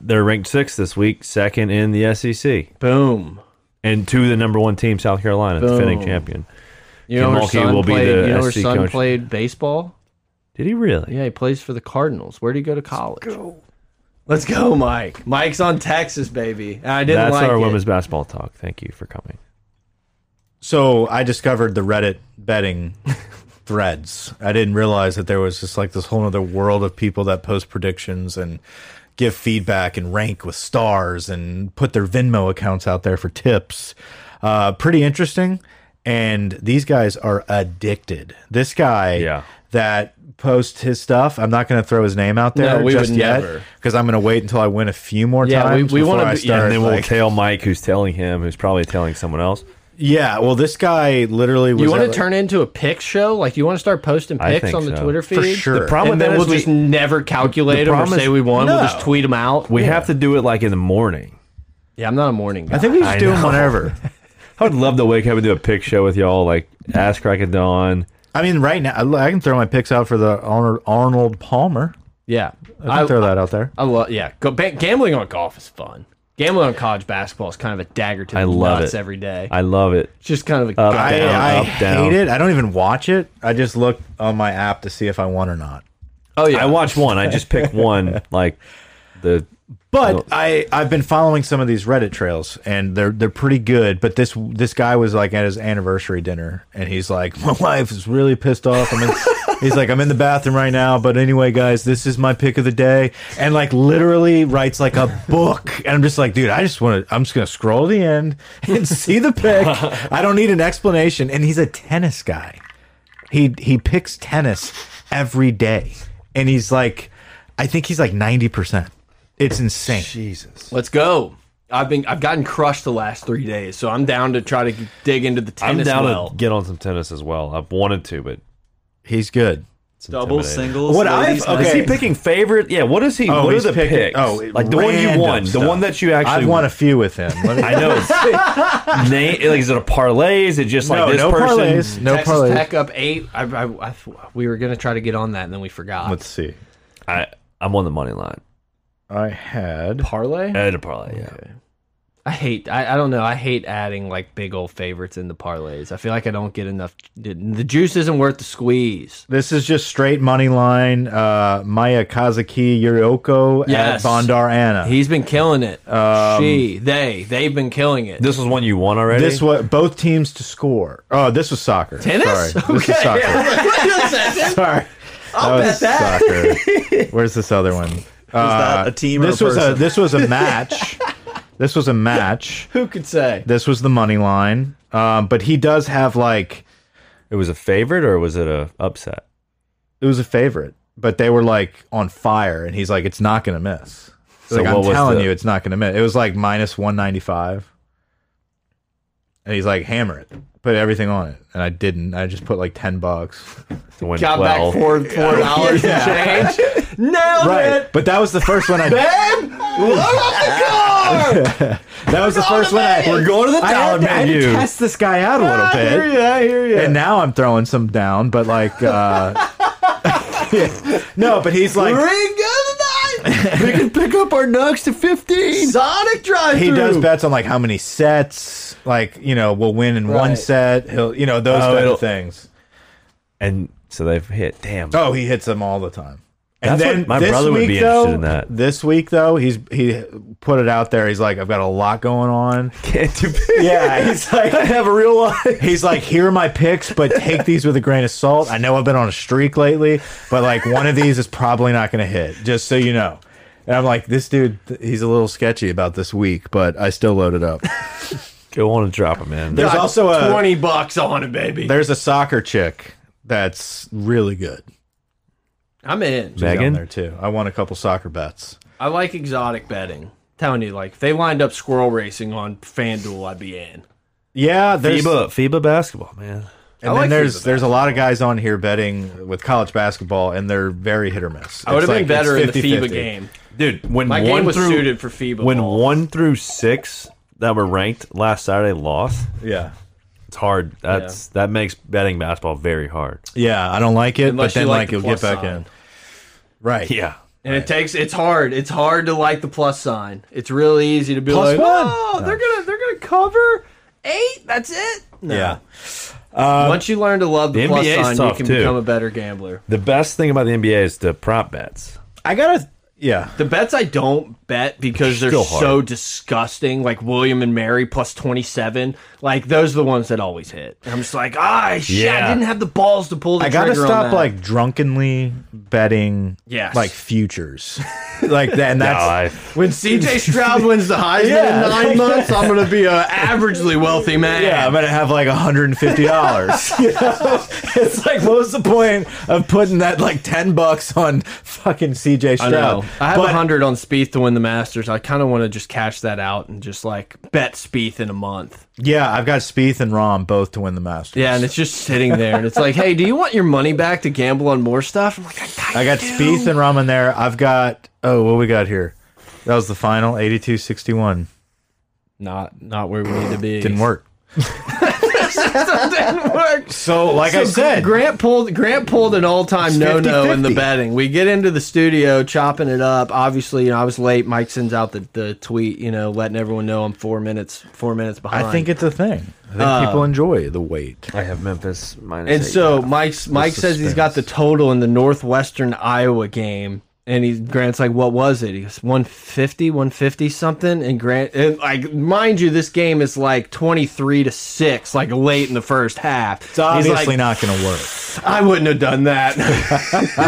Speaker 4: They're ranked sixth this week, second in the SEC,
Speaker 2: Boom.
Speaker 4: and to the number one team, South Carolina, defending
Speaker 2: Boom.
Speaker 4: champion.
Speaker 2: You know
Speaker 4: Kim
Speaker 2: her
Speaker 4: Mulkey
Speaker 2: son
Speaker 4: will be
Speaker 2: played.
Speaker 4: the
Speaker 2: you know her
Speaker 4: SC
Speaker 2: son
Speaker 4: coach.
Speaker 2: played baseball.
Speaker 4: Did he really?
Speaker 2: Yeah, he plays for the Cardinals. Where did he go to college? Let's go, Mike. Mike's on Texas, baby. And I didn't
Speaker 4: That's
Speaker 2: like
Speaker 4: our
Speaker 2: it.
Speaker 4: women's basketball talk. Thank you for coming.
Speaker 1: So I discovered the Reddit
Speaker 2: (laughs)
Speaker 1: betting threads. I didn't realize that there was just like this whole other world of people that post predictions and give feedback and rank with stars and put their Venmo accounts out there for tips. Uh, pretty interesting. And these guys are addicted. This guy
Speaker 4: Yeah.
Speaker 1: that posts his stuff, I'm not going to throw his name out there
Speaker 2: No, we
Speaker 1: just
Speaker 2: would
Speaker 1: yet
Speaker 2: never.
Speaker 1: because I'm going to wait until I win a few more
Speaker 2: Yeah, we-
Speaker 1: times
Speaker 2: we
Speaker 1: before
Speaker 2: wanna
Speaker 1: I
Speaker 2: be- yeah,
Speaker 1: start.
Speaker 4: And then we'll
Speaker 1: like-
Speaker 4: tell Mike, who's telling him, who's probably telling someone else.
Speaker 1: yeah, well, this guy literally was.
Speaker 2: You want
Speaker 1: at,
Speaker 2: to turn into a pick show? Like you want to start posting
Speaker 4: I
Speaker 2: pics
Speaker 4: think
Speaker 2: on the
Speaker 4: so.
Speaker 2: Twitter feed?
Speaker 1: for sure?
Speaker 4: The problem
Speaker 2: and then
Speaker 4: with
Speaker 2: we'll
Speaker 4: that is
Speaker 2: just never calculate
Speaker 4: the
Speaker 2: them or
Speaker 4: problem
Speaker 2: say
Speaker 4: is-
Speaker 2: we won. We'll just
Speaker 1: No.
Speaker 2: tweet them out.
Speaker 4: we, we have to do it like in the morning.
Speaker 2: yeah, I'm not a morning guy.
Speaker 1: I think we just
Speaker 4: I
Speaker 1: do them
Speaker 4: know.
Speaker 1: whenever.
Speaker 4: I would love to wake up and do a pick show with y'all, like ass crack of dawn.
Speaker 1: (laughs) I mean, right now I I can throw my picks out for the Arnold, Arnold Palmer.
Speaker 2: yeah,
Speaker 1: I
Speaker 2: I,
Speaker 1: can throw that out there.
Speaker 2: I love. Yeah, go, ba- gambling on golf is fun. Gambling on college basketball is kind of a dagger to the
Speaker 4: I love
Speaker 2: nuts
Speaker 4: it.
Speaker 2: every day.
Speaker 4: I Uh, love it.
Speaker 2: it's just kind of a gut
Speaker 4: Up,
Speaker 1: I,
Speaker 4: down,
Speaker 1: I
Speaker 4: up, down.
Speaker 1: hate it. I don't even watch it. I just look on my app to see if I won or not.
Speaker 2: Oh yeah,
Speaker 4: I watch one. I just pick
Speaker 2: (laughs)
Speaker 4: one, like the
Speaker 1: But
Speaker 4: Well-
Speaker 1: I I've been following some of these Reddit trails and they're they're pretty good. But this this guy was like at his anniversary dinner and he's like, (laughs) my wife is really pissed off. I'm in, he's like, I'm in the bathroom right now. But anyway, guys, this is my pick of the day. And like literally writes like a book. And I'm just like, dude, I just want to. I'm just gonna scroll to the end and see the pick. I don't need an explanation. And he's a tennis guy he he picks tennis every day and he's like i think he's like 90% it's insane
Speaker 2: Let's go. I've been I've gotten crushed the last three days, so I'm down to try to dig into the
Speaker 4: I'm
Speaker 2: tennis
Speaker 4: down
Speaker 2: well.
Speaker 4: to get on some tennis as well. I've wanted to, but
Speaker 1: he's good
Speaker 4: it's
Speaker 3: Double
Speaker 4: intimidating.
Speaker 3: singles.
Speaker 1: What I've-
Speaker 3: ladies'
Speaker 1: okay.
Speaker 4: Is he
Speaker 3: night.
Speaker 4: picking favorite? Yeah. What is he?
Speaker 1: Oh,
Speaker 4: what are
Speaker 1: he's
Speaker 4: the
Speaker 1: picking-
Speaker 4: picks?
Speaker 1: oh,
Speaker 4: like the one you
Speaker 1: random
Speaker 4: won,
Speaker 1: stuff.
Speaker 4: the one that you actually
Speaker 1: i've won a few with him Let me-
Speaker 4: I know. Name, like, is it a parlay? Is it just
Speaker 1: (laughs)
Speaker 4: like
Speaker 1: no,
Speaker 4: this
Speaker 1: no
Speaker 4: person?
Speaker 1: parlays no
Speaker 2: Texas
Speaker 1: parlays
Speaker 2: Tech up eight. I, I, I, we were gonna try to get on that, and then we forgot.
Speaker 1: let's see
Speaker 4: I I'm on the money line.
Speaker 1: i had
Speaker 2: parlay?
Speaker 4: I had a parlay. Yeah.
Speaker 2: I hate. I, I don't know. I hate adding like big old favorites in the parlays. I feel like I don't get enough. The juice isn't worth the squeeze.
Speaker 1: this is just straight money line uh maya kazaki yurioko
Speaker 2: Yes.
Speaker 1: at bondar anna
Speaker 2: He's been killing it.
Speaker 1: Um,
Speaker 2: she, they, they've been killing it.
Speaker 4: This was one you won already.
Speaker 1: this was both teams to score oh this was soccer
Speaker 2: Tennis?
Speaker 1: sorry this is
Speaker 2: Okay. (laughs)
Speaker 1: soccer sorry I'll that was soccer where's this other one Uh,
Speaker 3: that a team or
Speaker 1: this
Speaker 3: a
Speaker 1: was a
Speaker 3: person?
Speaker 1: this was a match. this was a match.
Speaker 2: Who could say?
Speaker 1: This was the money line. Um, but he does have like
Speaker 4: It was a favorite or was it a upset?
Speaker 1: it was a favorite, but they were like on fire, and he's like, it's not gonna miss.
Speaker 4: So
Speaker 1: like
Speaker 4: what
Speaker 1: I'm
Speaker 4: was
Speaker 1: telling
Speaker 4: the-
Speaker 1: you, it's not gonna miss. It was like minus one ninety five, and he's like, hammer it, put everything on it, and I didn't. I just put like ten bucks.
Speaker 4: To win
Speaker 2: Got
Speaker 4: twelve.
Speaker 2: back four four dollars and change. (laughs) Nailed it.
Speaker 1: But that was the first
Speaker 4: (laughs)
Speaker 1: one I. that was the first one I.
Speaker 4: We're going to the
Speaker 1: I had
Speaker 4: dollar
Speaker 1: to, I had to
Speaker 4: menu.
Speaker 1: test this guy out a little bit.
Speaker 2: I hear you.
Speaker 1: and now I'm throwing some down, but like, uh, (laughs) yeah. no, but he's like,
Speaker 4: (laughs) we can pick up our nugs to fifteen.
Speaker 2: Sonic drive
Speaker 1: he does bets on like how many sets, like you know, we'll win in one
Speaker 2: Right.
Speaker 1: set. He'll, you know, those
Speaker 4: Oh,
Speaker 1: type
Speaker 4: it'll-
Speaker 1: of things.
Speaker 4: And so they've hit. Damn.
Speaker 1: Oh, he hits them all the time. And
Speaker 4: That's what-
Speaker 1: then
Speaker 4: my
Speaker 1: this
Speaker 4: brother would
Speaker 1: week,
Speaker 4: be interested
Speaker 1: though,
Speaker 4: in that.
Speaker 1: This week though, he's he put it out there. He's like, I've got a lot going on.
Speaker 4: Can't do
Speaker 1: (laughs) Yeah, he's like, I have a real life. He's like, here are my picks, but take these with a grain of salt. I know I've been on a streak lately, but like one of these is probably not going to hit, just so you know. And I'm like, this dude, th- he's a little sketchy about this week, but I still loaded up.
Speaker 4: Go on and drop them, man.
Speaker 1: There's also a
Speaker 2: twenty bucks on it, baby.
Speaker 1: there's a soccer chick that's really good.
Speaker 2: I'm in.
Speaker 1: She's on
Speaker 4: Megan?
Speaker 1: there too. I want a couple soccer bets.
Speaker 2: I like exotic betting. Telling you, like if they lined up squirrel racing on FanDuel, I'd be in.
Speaker 1: Yeah, there's
Speaker 4: FIBA, FIBA basketball, man.
Speaker 1: and
Speaker 2: I
Speaker 1: then
Speaker 2: like
Speaker 1: there's
Speaker 2: FIBA
Speaker 1: there's a lot of guys on here betting with college basketball, and they're very hit or miss.
Speaker 2: I would have
Speaker 1: It's
Speaker 2: been
Speaker 1: like-
Speaker 2: better in
Speaker 1: it's
Speaker 2: the FIBA
Speaker 1: 50-50.
Speaker 2: game.
Speaker 4: Dude, when
Speaker 2: My
Speaker 4: one
Speaker 2: game was
Speaker 4: through,
Speaker 2: suited for FIBA.
Speaker 4: when
Speaker 2: balls.
Speaker 4: one through six that were ranked last Saturday lost,
Speaker 1: Yeah,
Speaker 4: it's hard. That's that makes betting basketball very hard.
Speaker 1: yeah. I don't like it,
Speaker 2: Unless
Speaker 1: but
Speaker 2: you
Speaker 1: then
Speaker 2: like
Speaker 1: like,
Speaker 2: the
Speaker 1: you'll get
Speaker 2: plus
Speaker 1: back
Speaker 2: side.
Speaker 1: in. Right.
Speaker 4: Yeah.
Speaker 2: and it takes it's hard. It's hard to like the plus sign. It's really easy to be like,
Speaker 1: Plus one.
Speaker 2: oh, they're gonna they're gonna cover eight. That's it. No.
Speaker 1: Yeah.
Speaker 2: Once you learn to love the,
Speaker 4: the
Speaker 2: plus
Speaker 4: NBA is
Speaker 2: sign, you
Speaker 4: tough,
Speaker 2: can
Speaker 4: too.
Speaker 2: become a better gambler.
Speaker 4: The best thing about the NBA is the prop bets.
Speaker 1: I gotta. Yeah.
Speaker 2: The bets I don't bet because they're
Speaker 4: Still hard.
Speaker 2: so disgusting, like William and Mary plus 27. Like, those are the ones that always hit. And I'm just like, ah, shit, I
Speaker 4: Yeah.
Speaker 2: didn't have the balls to pull the
Speaker 1: I gotta
Speaker 2: trigger on
Speaker 1: stop
Speaker 2: that."
Speaker 1: like drunkenly betting,
Speaker 2: Yes.
Speaker 1: like futures, (laughs) like that. And that's
Speaker 2: When
Speaker 1: (laughs)
Speaker 2: CJ Stroud wins the Heisman
Speaker 1: Yeah.
Speaker 2: in
Speaker 1: (laughs)
Speaker 2: nine months, I'm going to be an averagely wealthy man.
Speaker 1: yeah, I'm gonna have like
Speaker 2: (laughs)
Speaker 1: 150 dollars. (laughs) It's like, what was the point of putting that like 10 bucks on fucking CJ
Speaker 2: I
Speaker 1: Stroud?
Speaker 2: know. I have a
Speaker 1: But-
Speaker 2: 100 on Spieth to win the Masters. I kind of want to just cash that out and just like bet Spieth in a month.
Speaker 1: Yeah, I've got Spieth and Rom both to win the Masters.
Speaker 2: Yeah, and it's just sitting there. And it's like, hey, do you want your money back to gamble on more stuff? I'm like, I kinda
Speaker 1: I got Spieth and Rom in there. I've got oh, what we got here? That was the final 82-61.
Speaker 2: not not where we need to be.
Speaker 1: Didn't work.
Speaker 2: (laughs) Didn't work.
Speaker 1: So, like I
Speaker 2: So
Speaker 1: said,
Speaker 2: Grant pulled Grant pulled an all time no no in the
Speaker 1: 50-50.
Speaker 2: betting. We get into the studio chopping it up. Obviously, you know, I was late. Mike sends out the, the tweet, you know, letting everyone know I'm four minutes four minutes behind.
Speaker 1: I think it's a thing. I think
Speaker 2: Um,
Speaker 1: people enjoy the wait.
Speaker 4: I have Memphis minus.
Speaker 2: and so Mike's Mike says he's got the total in the Northwestern Iowa game. And he Grant's like, what was it? He goes 150, 150 something. And Grant, and like, mind you, this game is like twenty three to six, like late in the first half.
Speaker 1: It's obviously not going to work.
Speaker 2: I wouldn't have done (laughs) that.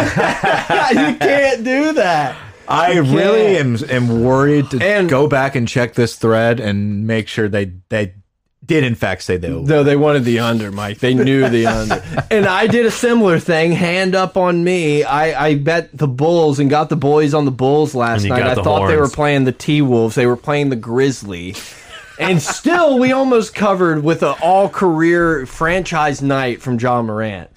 Speaker 2: you can't do that.
Speaker 1: I really am am worried to
Speaker 2: And-
Speaker 1: go back and check this thread and make sure they they did in fact say they were.
Speaker 2: No, they wanted the under, Mike. They knew the under. (laughs) And I did a similar thing, hand up on me. I, I bet the Bulls and got the boys on the Bulls last
Speaker 4: you
Speaker 2: night.
Speaker 4: got
Speaker 2: I
Speaker 4: the
Speaker 2: thought they were
Speaker 4: horns.
Speaker 2: playing the T Wolves, they were playing the Grizzly. (laughs) And still, we almost covered with an all career franchise night from John Morant.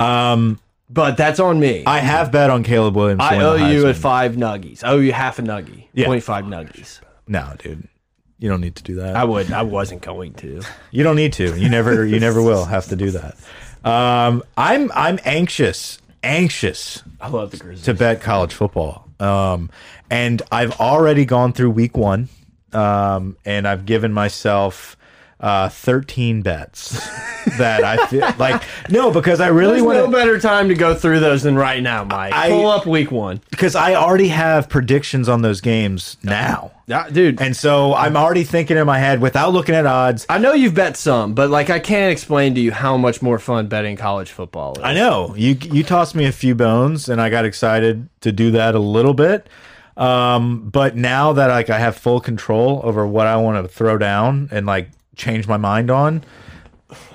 Speaker 1: Um,
Speaker 2: But that's on me. I,
Speaker 1: I have bet on Caleb Williams. to win the
Speaker 2: owe you
Speaker 1: Heisman.
Speaker 2: at five nuggies. I owe you half a nuggie,
Speaker 1: Yeah.
Speaker 2: 25 nuggies.
Speaker 1: No, dude, you don't need to do that.
Speaker 2: I would. I wasn't going to.
Speaker 1: You don't need to. You never you never will have to do that. Um, I'm I'm anxious anxious
Speaker 2: I love the Grizzlies.
Speaker 1: to bet college football. Um, and I've already gone through week one. Um, and I've given myself uh
Speaker 2: (laughs)
Speaker 1: 13 bets that I feel like no because I really
Speaker 2: There's
Speaker 1: want
Speaker 2: no
Speaker 1: to
Speaker 2: better time to go through those than right now, Mike.
Speaker 1: I-
Speaker 2: Pull up week one,
Speaker 1: because I already have predictions on those games now.
Speaker 2: dude.
Speaker 1: And so I'm already thinking in my head without looking at odds.
Speaker 2: I know you've bet some, but like I can't explain to you how much more fun betting college football is.
Speaker 1: I know you you tossed me a few bones, and I got excited to do that a little bit. Um, but now that like I have full control over what I want to throw down and like change my mind on,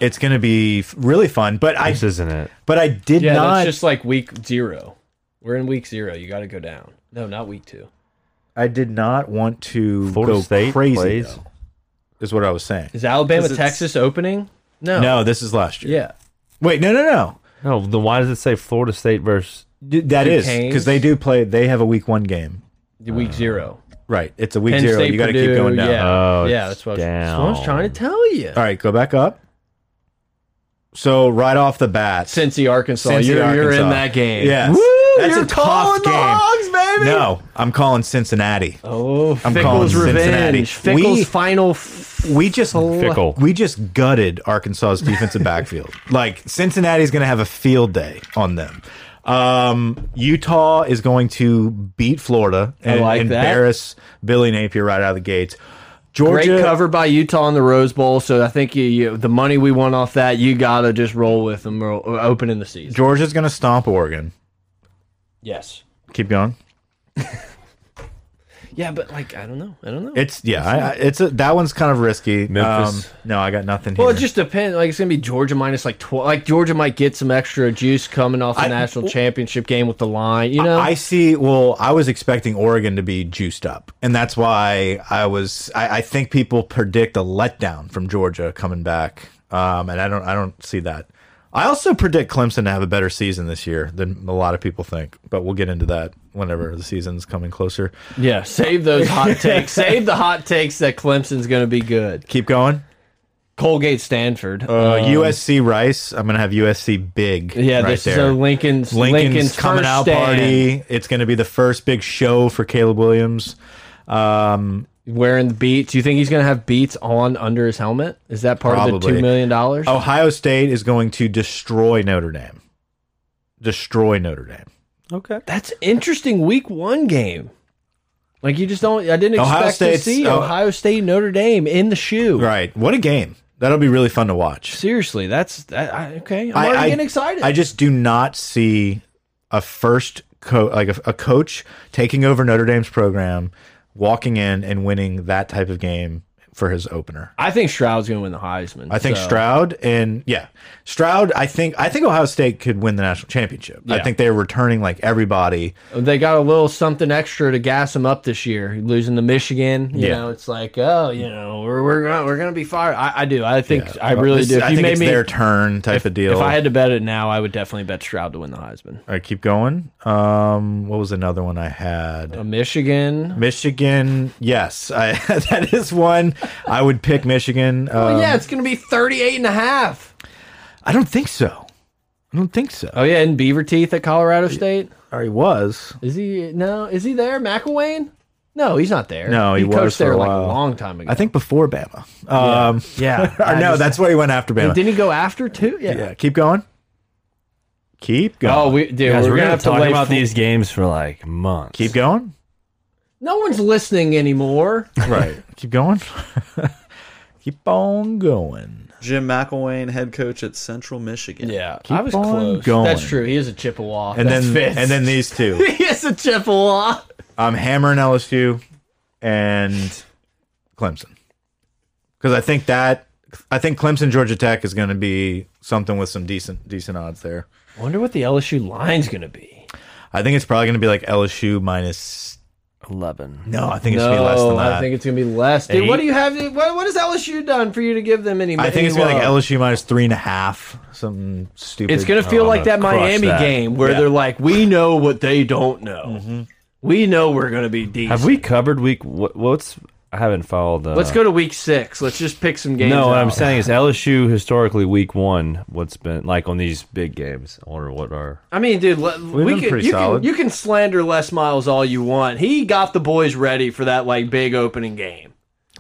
Speaker 1: it's going to be f- really fun. But I
Speaker 4: This isn't it.
Speaker 1: but I did
Speaker 2: Yeah,
Speaker 1: not
Speaker 2: that's just like week zero. We're in week zero. You got to go down. No, not week two.
Speaker 1: I did not want to
Speaker 4: Florida
Speaker 1: go
Speaker 4: State
Speaker 1: crazy.
Speaker 4: plays.
Speaker 1: though, is what I was saying.
Speaker 2: Is Alabama Texas opening? No.
Speaker 1: No, this is last year.
Speaker 2: Yeah.
Speaker 1: Wait, no, no, no.
Speaker 4: No, then why does it say Florida State versus?
Speaker 1: D that is
Speaker 2: Duquesne?
Speaker 1: because they do play. They have a week one game.
Speaker 2: Week zero.
Speaker 1: Right. It's a week
Speaker 2: Penn
Speaker 1: zero.
Speaker 2: State,
Speaker 1: you got to
Speaker 2: Purdue,
Speaker 1: keep going down.
Speaker 2: Yeah.
Speaker 4: Oh,
Speaker 2: yeah. That's
Speaker 4: it's
Speaker 2: what, I was, that's what I was
Speaker 4: down.
Speaker 2: trying to tell you.
Speaker 1: All right, go back up. So right off the bat,
Speaker 2: Cincy, Arkansas.
Speaker 1: Cincy,
Speaker 2: you're, you're
Speaker 1: Arkansas.
Speaker 2: in that game.
Speaker 1: Yes.
Speaker 2: Woo!
Speaker 1: That's a
Speaker 2: you're
Speaker 1: tough
Speaker 2: calling the
Speaker 1: game.
Speaker 2: Hogs, baby.
Speaker 1: no, I'm calling Cincinnati.
Speaker 2: Oh,
Speaker 1: I'm
Speaker 2: Fickle's
Speaker 1: calling Cincinnati.
Speaker 2: revenge. Fickle's
Speaker 1: We-
Speaker 2: final. F
Speaker 1: We just
Speaker 4: Fickle.
Speaker 1: we just gutted Arkansas's
Speaker 2: (laughs)
Speaker 1: defensive backfield. Like Cincinnati's going to have a field day on them. Um, Utah is going to beat Florida and
Speaker 2: like that.
Speaker 1: embarrass Billy Napier right out of the gates.
Speaker 2: great
Speaker 1: Georgia
Speaker 2: cover by Utah in the Rose Bowl. So I think you, you the money we won off that, you gotta just roll with them or, or opening the season.
Speaker 1: Georgia's going to stomp Oregon.
Speaker 2: Yes.
Speaker 1: Keep going.
Speaker 2: Yeah, but like I don't know. I don't know.
Speaker 1: It's yeah, I, I, it's a, that one's kind of risky.
Speaker 4: Memphis.
Speaker 1: Um, no, I got nothing
Speaker 2: well,
Speaker 1: here.
Speaker 2: it just depends. Like it's gonna be Georgia minus like twelve. Like Georgia might get some extra juice coming off the
Speaker 1: I-
Speaker 2: national championship game with the line. You know,
Speaker 1: I see. Well, I was expecting Oregon to be juiced up, and that's why I was. I, I think people predict a letdown from Georgia coming back, um, and I don't. I don't see that. I also predict Clemson to have a better season this year than a lot of people think, but we'll get into that whenever the season's coming closer.
Speaker 2: yeah. Save those
Speaker 1: (laughs)
Speaker 2: hot takes. Save the hot takes that Clemson's gonna be good.
Speaker 1: Keep going.
Speaker 2: Colgate, Stanford.
Speaker 1: Uh, USC Rice. I'm gonna have USC big.
Speaker 2: Um, yeah,
Speaker 1: right
Speaker 2: this is a
Speaker 1: there.
Speaker 2: Lincoln's
Speaker 1: Lincoln's,
Speaker 2: Lincoln's,
Speaker 1: coming
Speaker 2: first
Speaker 1: out
Speaker 2: stand.
Speaker 1: party. It's going to be the first big show for Caleb Williams. Um,
Speaker 2: wearing the beats. You think he's gonna have beats on under his helmet? Is that part of the
Speaker 1: Probably. Oh.
Speaker 2: two million dollars?
Speaker 1: Ohio State is going to destroy Notre Dame. Destroy Notre Dame.
Speaker 4: Okay.
Speaker 2: That's interesting. Week one game. Like you just don't. I didn't
Speaker 1: Ohio
Speaker 2: expect to
Speaker 1: State's-
Speaker 2: see
Speaker 1: oh.
Speaker 2: Ohio State Notre Dame in the shoe.
Speaker 1: Right. What a game. That'll be really fun to watch.
Speaker 2: Seriously, that's that, I, okay. I'm already getting excited.
Speaker 1: I just do not see a first co like a, a coach taking over Notre Dame's program, walking in and winning that type of game for his opener.
Speaker 2: I think Stroud's going to win the Heisman.
Speaker 1: I think
Speaker 2: so-
Speaker 1: Stroud and yeah, Stroud. I think I think Ohio State could win the national championship. I
Speaker 2: Yeah.
Speaker 1: think they're returning like everybody.
Speaker 2: They got a little something extra to gas him up this year. Losing to Michigan, you
Speaker 1: Yeah.
Speaker 2: know, it's like, oh, you know, we're we're gonna, we're going to be fired. I, I do. I think I really
Speaker 1: This-
Speaker 2: do. If
Speaker 1: I
Speaker 2: you
Speaker 1: think
Speaker 2: made
Speaker 1: it's
Speaker 2: me,
Speaker 1: their turn type of deal.
Speaker 2: if I had to bet it now, I would definitely bet Stroud to win the Heisman.
Speaker 1: All right, keep going. Um, what was another one I had?
Speaker 2: A Michigan.
Speaker 1: Michigan. Yes, I, (laughs) that is one I would pick. Michigan. Um,
Speaker 2: oh, yeah, it's going to be 38 and a half.
Speaker 1: I don't think so. I don't think so.
Speaker 2: Oh yeah, and Beaver Teeth at Colorado State.
Speaker 1: Or he was.
Speaker 2: Is he no? Is he there? McElwain? No, he's not there.
Speaker 1: No, he was
Speaker 2: coached
Speaker 1: for a
Speaker 2: there like
Speaker 1: while.
Speaker 2: a long time ago.
Speaker 1: I think before Bama. Um, (laughs)
Speaker 2: Yeah.
Speaker 1: or no, that's where he went after Bama.
Speaker 2: Didn't he go after too? Yeah.
Speaker 1: yeah, keep going. Keep going.
Speaker 2: Oh, we dude,
Speaker 4: Guys,
Speaker 2: we're, gonna
Speaker 4: we're, going
Speaker 2: have
Speaker 4: to
Speaker 2: to
Speaker 4: talk
Speaker 2: lay
Speaker 4: about
Speaker 2: full-
Speaker 4: these games for like months.
Speaker 1: keep going.
Speaker 2: No one's listening anymore.
Speaker 1: Right. (laughs) Keep going. Keep on going.
Speaker 3: Jim McElwain, head coach at Central Michigan.
Speaker 2: Yeah,
Speaker 1: Keep
Speaker 2: I was
Speaker 1: on
Speaker 2: close.
Speaker 1: going.
Speaker 2: That's true. He is a Chippewa.
Speaker 1: And
Speaker 2: That's
Speaker 1: then
Speaker 2: fits.
Speaker 1: and then these two.
Speaker 2: (laughs) he is a Chippewa.
Speaker 1: I'm hammering LSU and Clemson. Cuz I think that I think Clemson Georgia Tech is going to be something with some decent decent odds there.
Speaker 2: Wonder what the LSU line's gonna be.
Speaker 1: I think it's probably going to be like LSU minus
Speaker 4: 11.
Speaker 1: No, I think it's going to be less than
Speaker 2: No,
Speaker 1: that.
Speaker 2: I think it's gonna be less. Dude,
Speaker 1: Eight?
Speaker 2: what do you have? What, what has LSU done for you to give them any?
Speaker 1: I think it's
Speaker 2: any
Speaker 1: going to be like
Speaker 2: love?
Speaker 1: LSU minus three and a half, something stupid. Oh,
Speaker 2: It's gonna feel
Speaker 4: I'm
Speaker 2: like
Speaker 4: gonna
Speaker 2: that
Speaker 4: crush
Speaker 2: Miami
Speaker 4: that.
Speaker 2: game where
Speaker 1: Yeah.
Speaker 2: they're like, we know what they don't know.
Speaker 1: Mm-hmm.
Speaker 2: We know we're gonna be decent.
Speaker 4: Have we covered week? What, what's. I haven't followed. Uh,
Speaker 2: Let's go to week six. Let's just pick some games.
Speaker 4: No, what I'm
Speaker 2: out. (laughs)
Speaker 4: saying is LSU historically week one. What's been like on these big games? I wonder what are.
Speaker 2: I mean, dude, le- we
Speaker 1: been
Speaker 2: can,
Speaker 1: pretty
Speaker 2: you,
Speaker 1: solid.
Speaker 2: Can, you can slander Les Miles all you want. He got the boys ready for that like big opening game.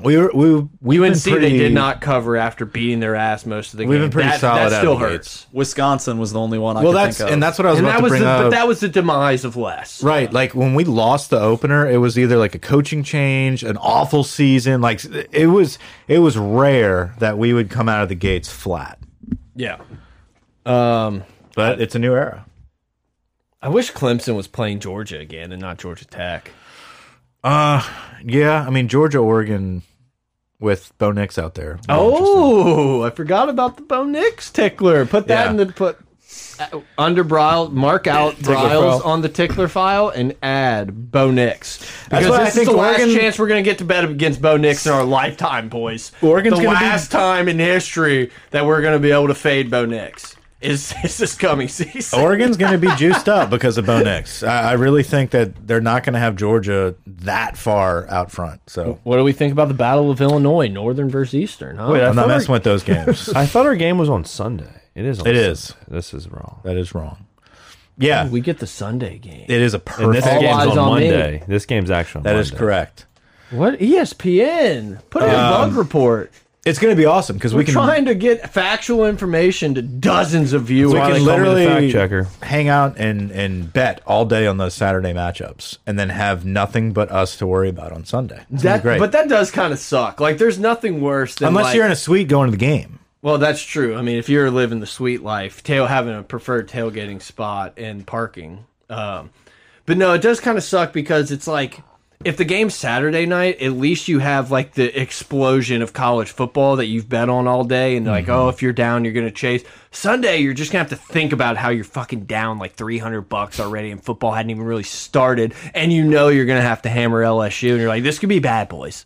Speaker 1: we were we we
Speaker 2: UNC they did not cover after beating their ass most of the game.
Speaker 1: We've been pretty
Speaker 2: that,
Speaker 1: solid
Speaker 2: That
Speaker 1: out
Speaker 2: still
Speaker 1: of the
Speaker 2: hurts.
Speaker 3: Wisconsin was the only one I
Speaker 1: Well,
Speaker 3: could
Speaker 1: that's
Speaker 3: think of.
Speaker 1: and that's what I was
Speaker 2: And
Speaker 1: about
Speaker 2: that
Speaker 1: to
Speaker 2: was
Speaker 1: bring
Speaker 2: the,
Speaker 1: up.
Speaker 2: but that was the demise of Les.
Speaker 1: Right, like when we lost the opener, it was either like a coaching change, an awful season. Like it was, it was rare that we would come out of the gates flat.
Speaker 2: Yeah. Um,
Speaker 1: But it's a new era.
Speaker 2: I wish Clemson was playing Georgia again and not Georgia Tech.
Speaker 1: Uh, yeah. I mean, Georgia, Oregon, with Bo Nix out there.
Speaker 2: Oh, I forgot about the Bo Nix tickler. Put that
Speaker 1: Yeah.
Speaker 2: in the put uh, under Brile, mark out Briles on the tickler file and add Bo Nix. Because
Speaker 1: what I
Speaker 2: this is
Speaker 1: think
Speaker 2: the
Speaker 1: Oregon-
Speaker 2: last chance we're going to get to bet against Bo Nix in our lifetime, boys.
Speaker 1: Oregon's
Speaker 2: the
Speaker 1: gonna be-
Speaker 2: last time in history that we're going to be able to fade Bo Nix is, (laughs) is this coming season.
Speaker 1: (laughs) Oregon's going to be juiced up because of Bo Nix. I, I really think that they're not going to have Georgia that far out front. So
Speaker 2: what do we think about the Battle of Illinois, Northern versus Eastern? Huh?
Speaker 4: I
Speaker 1: I'm not
Speaker 4: thought our-
Speaker 1: messing with those games.
Speaker 4: (laughs) I thought our game was on Sunday. It is. On
Speaker 1: It
Speaker 4: Sunday.
Speaker 1: is.
Speaker 4: This is wrong.
Speaker 1: that is wrong. Yeah,
Speaker 2: we get the Sunday game.
Speaker 1: it is a
Speaker 4: And this
Speaker 1: perfect.
Speaker 4: game's
Speaker 2: eyes
Speaker 4: on,
Speaker 2: on me.
Speaker 4: Monday. This game's actually on
Speaker 1: That is
Speaker 4: Monday.
Speaker 1: correct.
Speaker 2: What E ESPN? Put in a
Speaker 1: Um,
Speaker 2: bug report.
Speaker 1: It's going to be awesome because
Speaker 2: We're
Speaker 1: we can
Speaker 2: trying to get factual information to dozens of viewers.
Speaker 1: we
Speaker 4: why
Speaker 1: can
Speaker 4: they call me the
Speaker 1: literally
Speaker 4: fact checker.
Speaker 1: hang out and and bet all day on those Saturday matchups, and then have nothing but us to worry about on Sunday. It's gonna
Speaker 2: that,
Speaker 1: be great.
Speaker 2: But that does kind of suck. Like, there's nothing worse than
Speaker 1: unless
Speaker 2: like-
Speaker 1: you're in a suite going to the game,
Speaker 2: Well, that's true. I mean, if you're living the sweet life, tail having a preferred tailgating spot and parking. Um, but no, it does kind of suck because it's like if the game's Saturday night, at least you have like the explosion of college football that you've bet on all day, and like, oh, if you're down, you're gonna chase. Sunday, you're just gonna have to think about how you're fucking down like 300 bucks already, and football hadn't even really started, and you know you're gonna have to hammer LSU, and you're like, this could be bad, boys.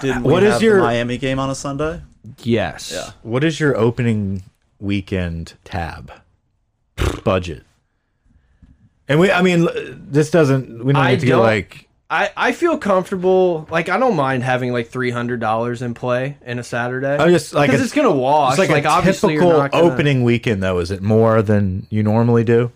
Speaker 3: Didn't
Speaker 1: What
Speaker 3: we
Speaker 1: is
Speaker 3: have
Speaker 1: your-
Speaker 3: the Miami game on a Sunday?
Speaker 2: Yes.
Speaker 1: What is your opening weekend tab budget? And we, I mean, l- this doesn't. We don't
Speaker 2: I
Speaker 1: need to get
Speaker 2: don't-
Speaker 1: like.
Speaker 2: I, I feel comfortable. Like I don't mind having like three hundred dollars in play in a Saturday.
Speaker 1: I just like
Speaker 2: 'Cause
Speaker 1: a-
Speaker 2: it's gonna wash.
Speaker 1: It's like, a
Speaker 2: obviously
Speaker 1: typical
Speaker 2: you're not gonna,
Speaker 1: opening weekend, though. Is it more than you normally do?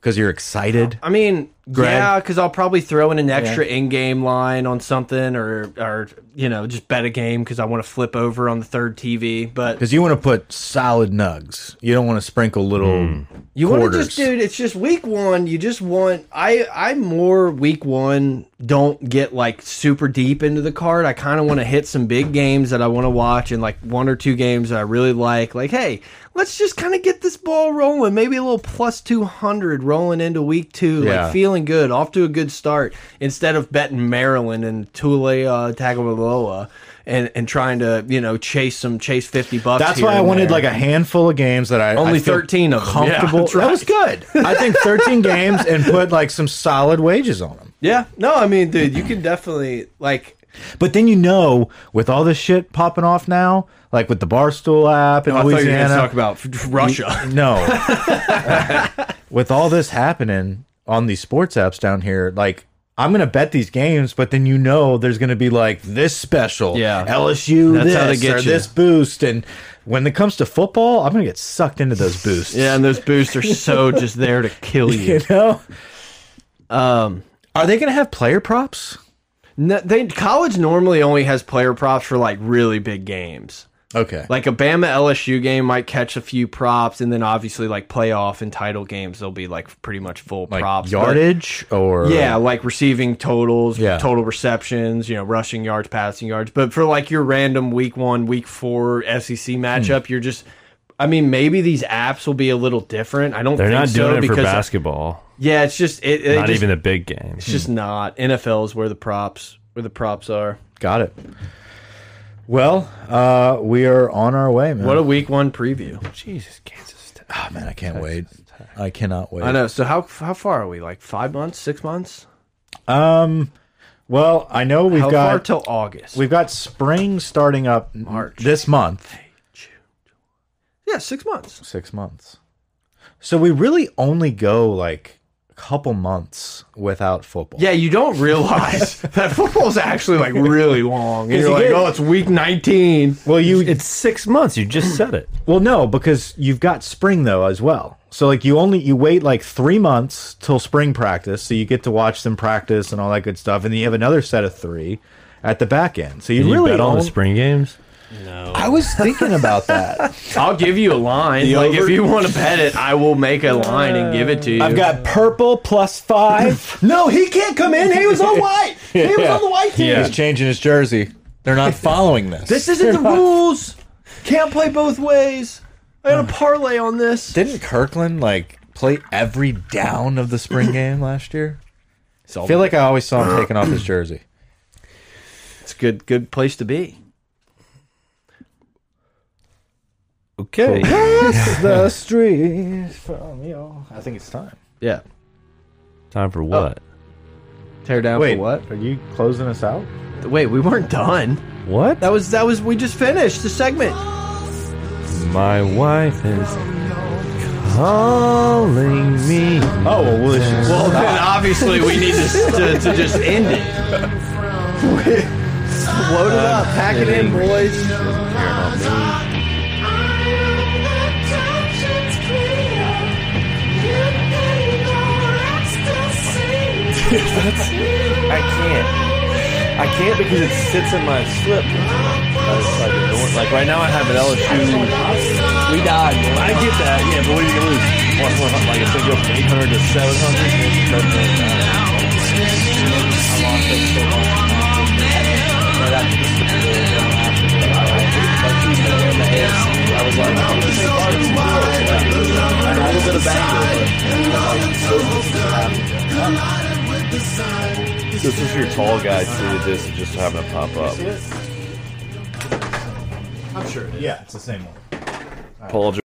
Speaker 1: Because you're excited.
Speaker 2: I mean,
Speaker 1: Greg?
Speaker 2: yeah, because I'll probably throw in an extra in-game line on something, or or you know, just bet a game because I want to flip over on the third TV. But
Speaker 1: Because you want to put solid nugs. You don't want to sprinkle little.
Speaker 2: you want to just,
Speaker 1: quarters.
Speaker 2: dude, it's just week one. You just want. I I more week one. Don't get like super deep into the card. I kind of want to hit some big games that I want to watch, and like one or two games that I really like. Like, hey, let's just kind of get this ball rolling. Maybe a little plus two hundred rolling into week two.
Speaker 1: Yeah.
Speaker 2: Like, feel feeling good, off to a good start, instead of betting Maryland and Tule uh, Tagovailoa and and trying to you know chase some chase fifty bucks.
Speaker 1: That's
Speaker 2: here
Speaker 1: why I
Speaker 2: and
Speaker 1: wanted
Speaker 2: there.
Speaker 1: like a handful of games that I
Speaker 2: Only
Speaker 1: I feel
Speaker 2: 13 of them. Yeah,
Speaker 1: comfortable.
Speaker 2: that's (laughs)
Speaker 1: That was good. I think thirteen games and put like some solid wages on them.
Speaker 2: yeah. No, I mean, dude, you can definitely like.
Speaker 1: But then you know, with all this shit popping off now, like with the Barstool app in
Speaker 2: Oh, I thought you were going to
Speaker 1: Louisiana,
Speaker 2: talk about (laughs) Russia.
Speaker 1: no. With all this happening on these sports apps down here, like I'm gonna bet these games, but then you know there's gonna be like this special,
Speaker 2: Yeah.
Speaker 1: LSU,
Speaker 2: That's
Speaker 1: this
Speaker 2: how they get
Speaker 1: or
Speaker 2: you.
Speaker 1: this boost, and when it comes to football, I'm gonna get sucked into those boosts. (laughs)
Speaker 2: Yeah, and those boosts are (laughs) so just there to kill you.
Speaker 1: you know,
Speaker 2: Um,
Speaker 1: are they gonna have player props?
Speaker 2: no, they college normally only has player props for like really big games.
Speaker 1: Okay,
Speaker 2: Like a Bama LSU game might catch a few props, and then obviously like playoff and title games, they'll be like pretty much full
Speaker 1: like
Speaker 2: props. but-
Speaker 1: yardage or
Speaker 2: Yeah, like receiving totals,
Speaker 1: Yeah.
Speaker 2: total receptions, you know, rushing yards, passing yards. But for like your random week one, week four SEC
Speaker 4: Hmm.
Speaker 2: matchup, you're just. I mean, maybe these apps will be a little different. I don't.
Speaker 4: They're
Speaker 2: think
Speaker 4: not
Speaker 2: so
Speaker 4: doing it for
Speaker 2: because
Speaker 4: basketball.
Speaker 2: yeah, it's just it. it
Speaker 4: Not
Speaker 2: just,
Speaker 4: even the big games.
Speaker 2: It's just not NFL is where the props where the props are.
Speaker 1: got it. Well, uh, we are on our way, man.
Speaker 2: What a week one preview.
Speaker 4: Jesus, Kansas. Tech.
Speaker 1: oh man, I can't wait. I cannot wait.
Speaker 2: I know. So how how far are we? Like five months, six months?
Speaker 1: Um, well, I know we've
Speaker 2: How far
Speaker 1: got
Speaker 2: till August?
Speaker 1: we've got spring starting up n-
Speaker 2: March.
Speaker 1: this month.
Speaker 2: yeah, six months.
Speaker 1: Six months. So we really only go like a couple months without football.
Speaker 2: Yeah, you don't
Speaker 4: (laughs)
Speaker 2: realize that football's actually like really long. And
Speaker 1: 'Cause
Speaker 2: you're
Speaker 1: you
Speaker 2: like,
Speaker 1: get-
Speaker 2: oh, it's week 19.
Speaker 1: Well, you
Speaker 4: It's six months. You just said it.
Speaker 1: well no because you've got spring though as well. So like you only you wait like three months till spring practice, so you get to watch them practice and all that good stuff, and then you have another set of three at the back end. So you
Speaker 4: Can you
Speaker 1: really
Speaker 4: bet on the
Speaker 1: only-
Speaker 4: spring games?
Speaker 1: I was thinking about that.
Speaker 2: I'll give you a line. like, if you want to bet it, I will make a line and give it to you.
Speaker 1: I've got purple plus five.
Speaker 2: no, he can't come in. He was on
Speaker 4: (laughs)
Speaker 2: white. He was on the white team.
Speaker 1: He's changing his jersey.
Speaker 2: (laughs)
Speaker 1: They're not following this.
Speaker 2: This isn't the rules. Can't play both ways. I got a parlay on this.
Speaker 1: Didn't Kirkland like play every down of
Speaker 2: (laughs)
Speaker 1: the spring game last year? I feel like I always saw him taking off his jersey.
Speaker 2: It's a good, good place to be.
Speaker 4: Okay.
Speaker 1: the street from you. Oh, I think it's time.
Speaker 2: Yeah.
Speaker 4: Time for what?
Speaker 2: Tear down
Speaker 1: Wait,
Speaker 2: for what?
Speaker 1: what? Are you closing us out?
Speaker 2: Wait, we weren't done.
Speaker 4: What?
Speaker 2: That was that was we just finished the segment.
Speaker 4: My wife is calling me.
Speaker 1: Oh well, we should-
Speaker 2: Well, then obviously we need to, to, to just end it. (laughs) Load it up, pack it in, boys.
Speaker 4: I can't. I can't because it sits in my slip. Like, like right now, I have an LSU. We died. I get that. Yeah, but what are you gonna lose? One, one, like it's gonna go from 800 to 700. This is your tall guy tweeted this and just having to pop up.
Speaker 1: I'm sure. Yeah, it's the same one.
Speaker 4: Paul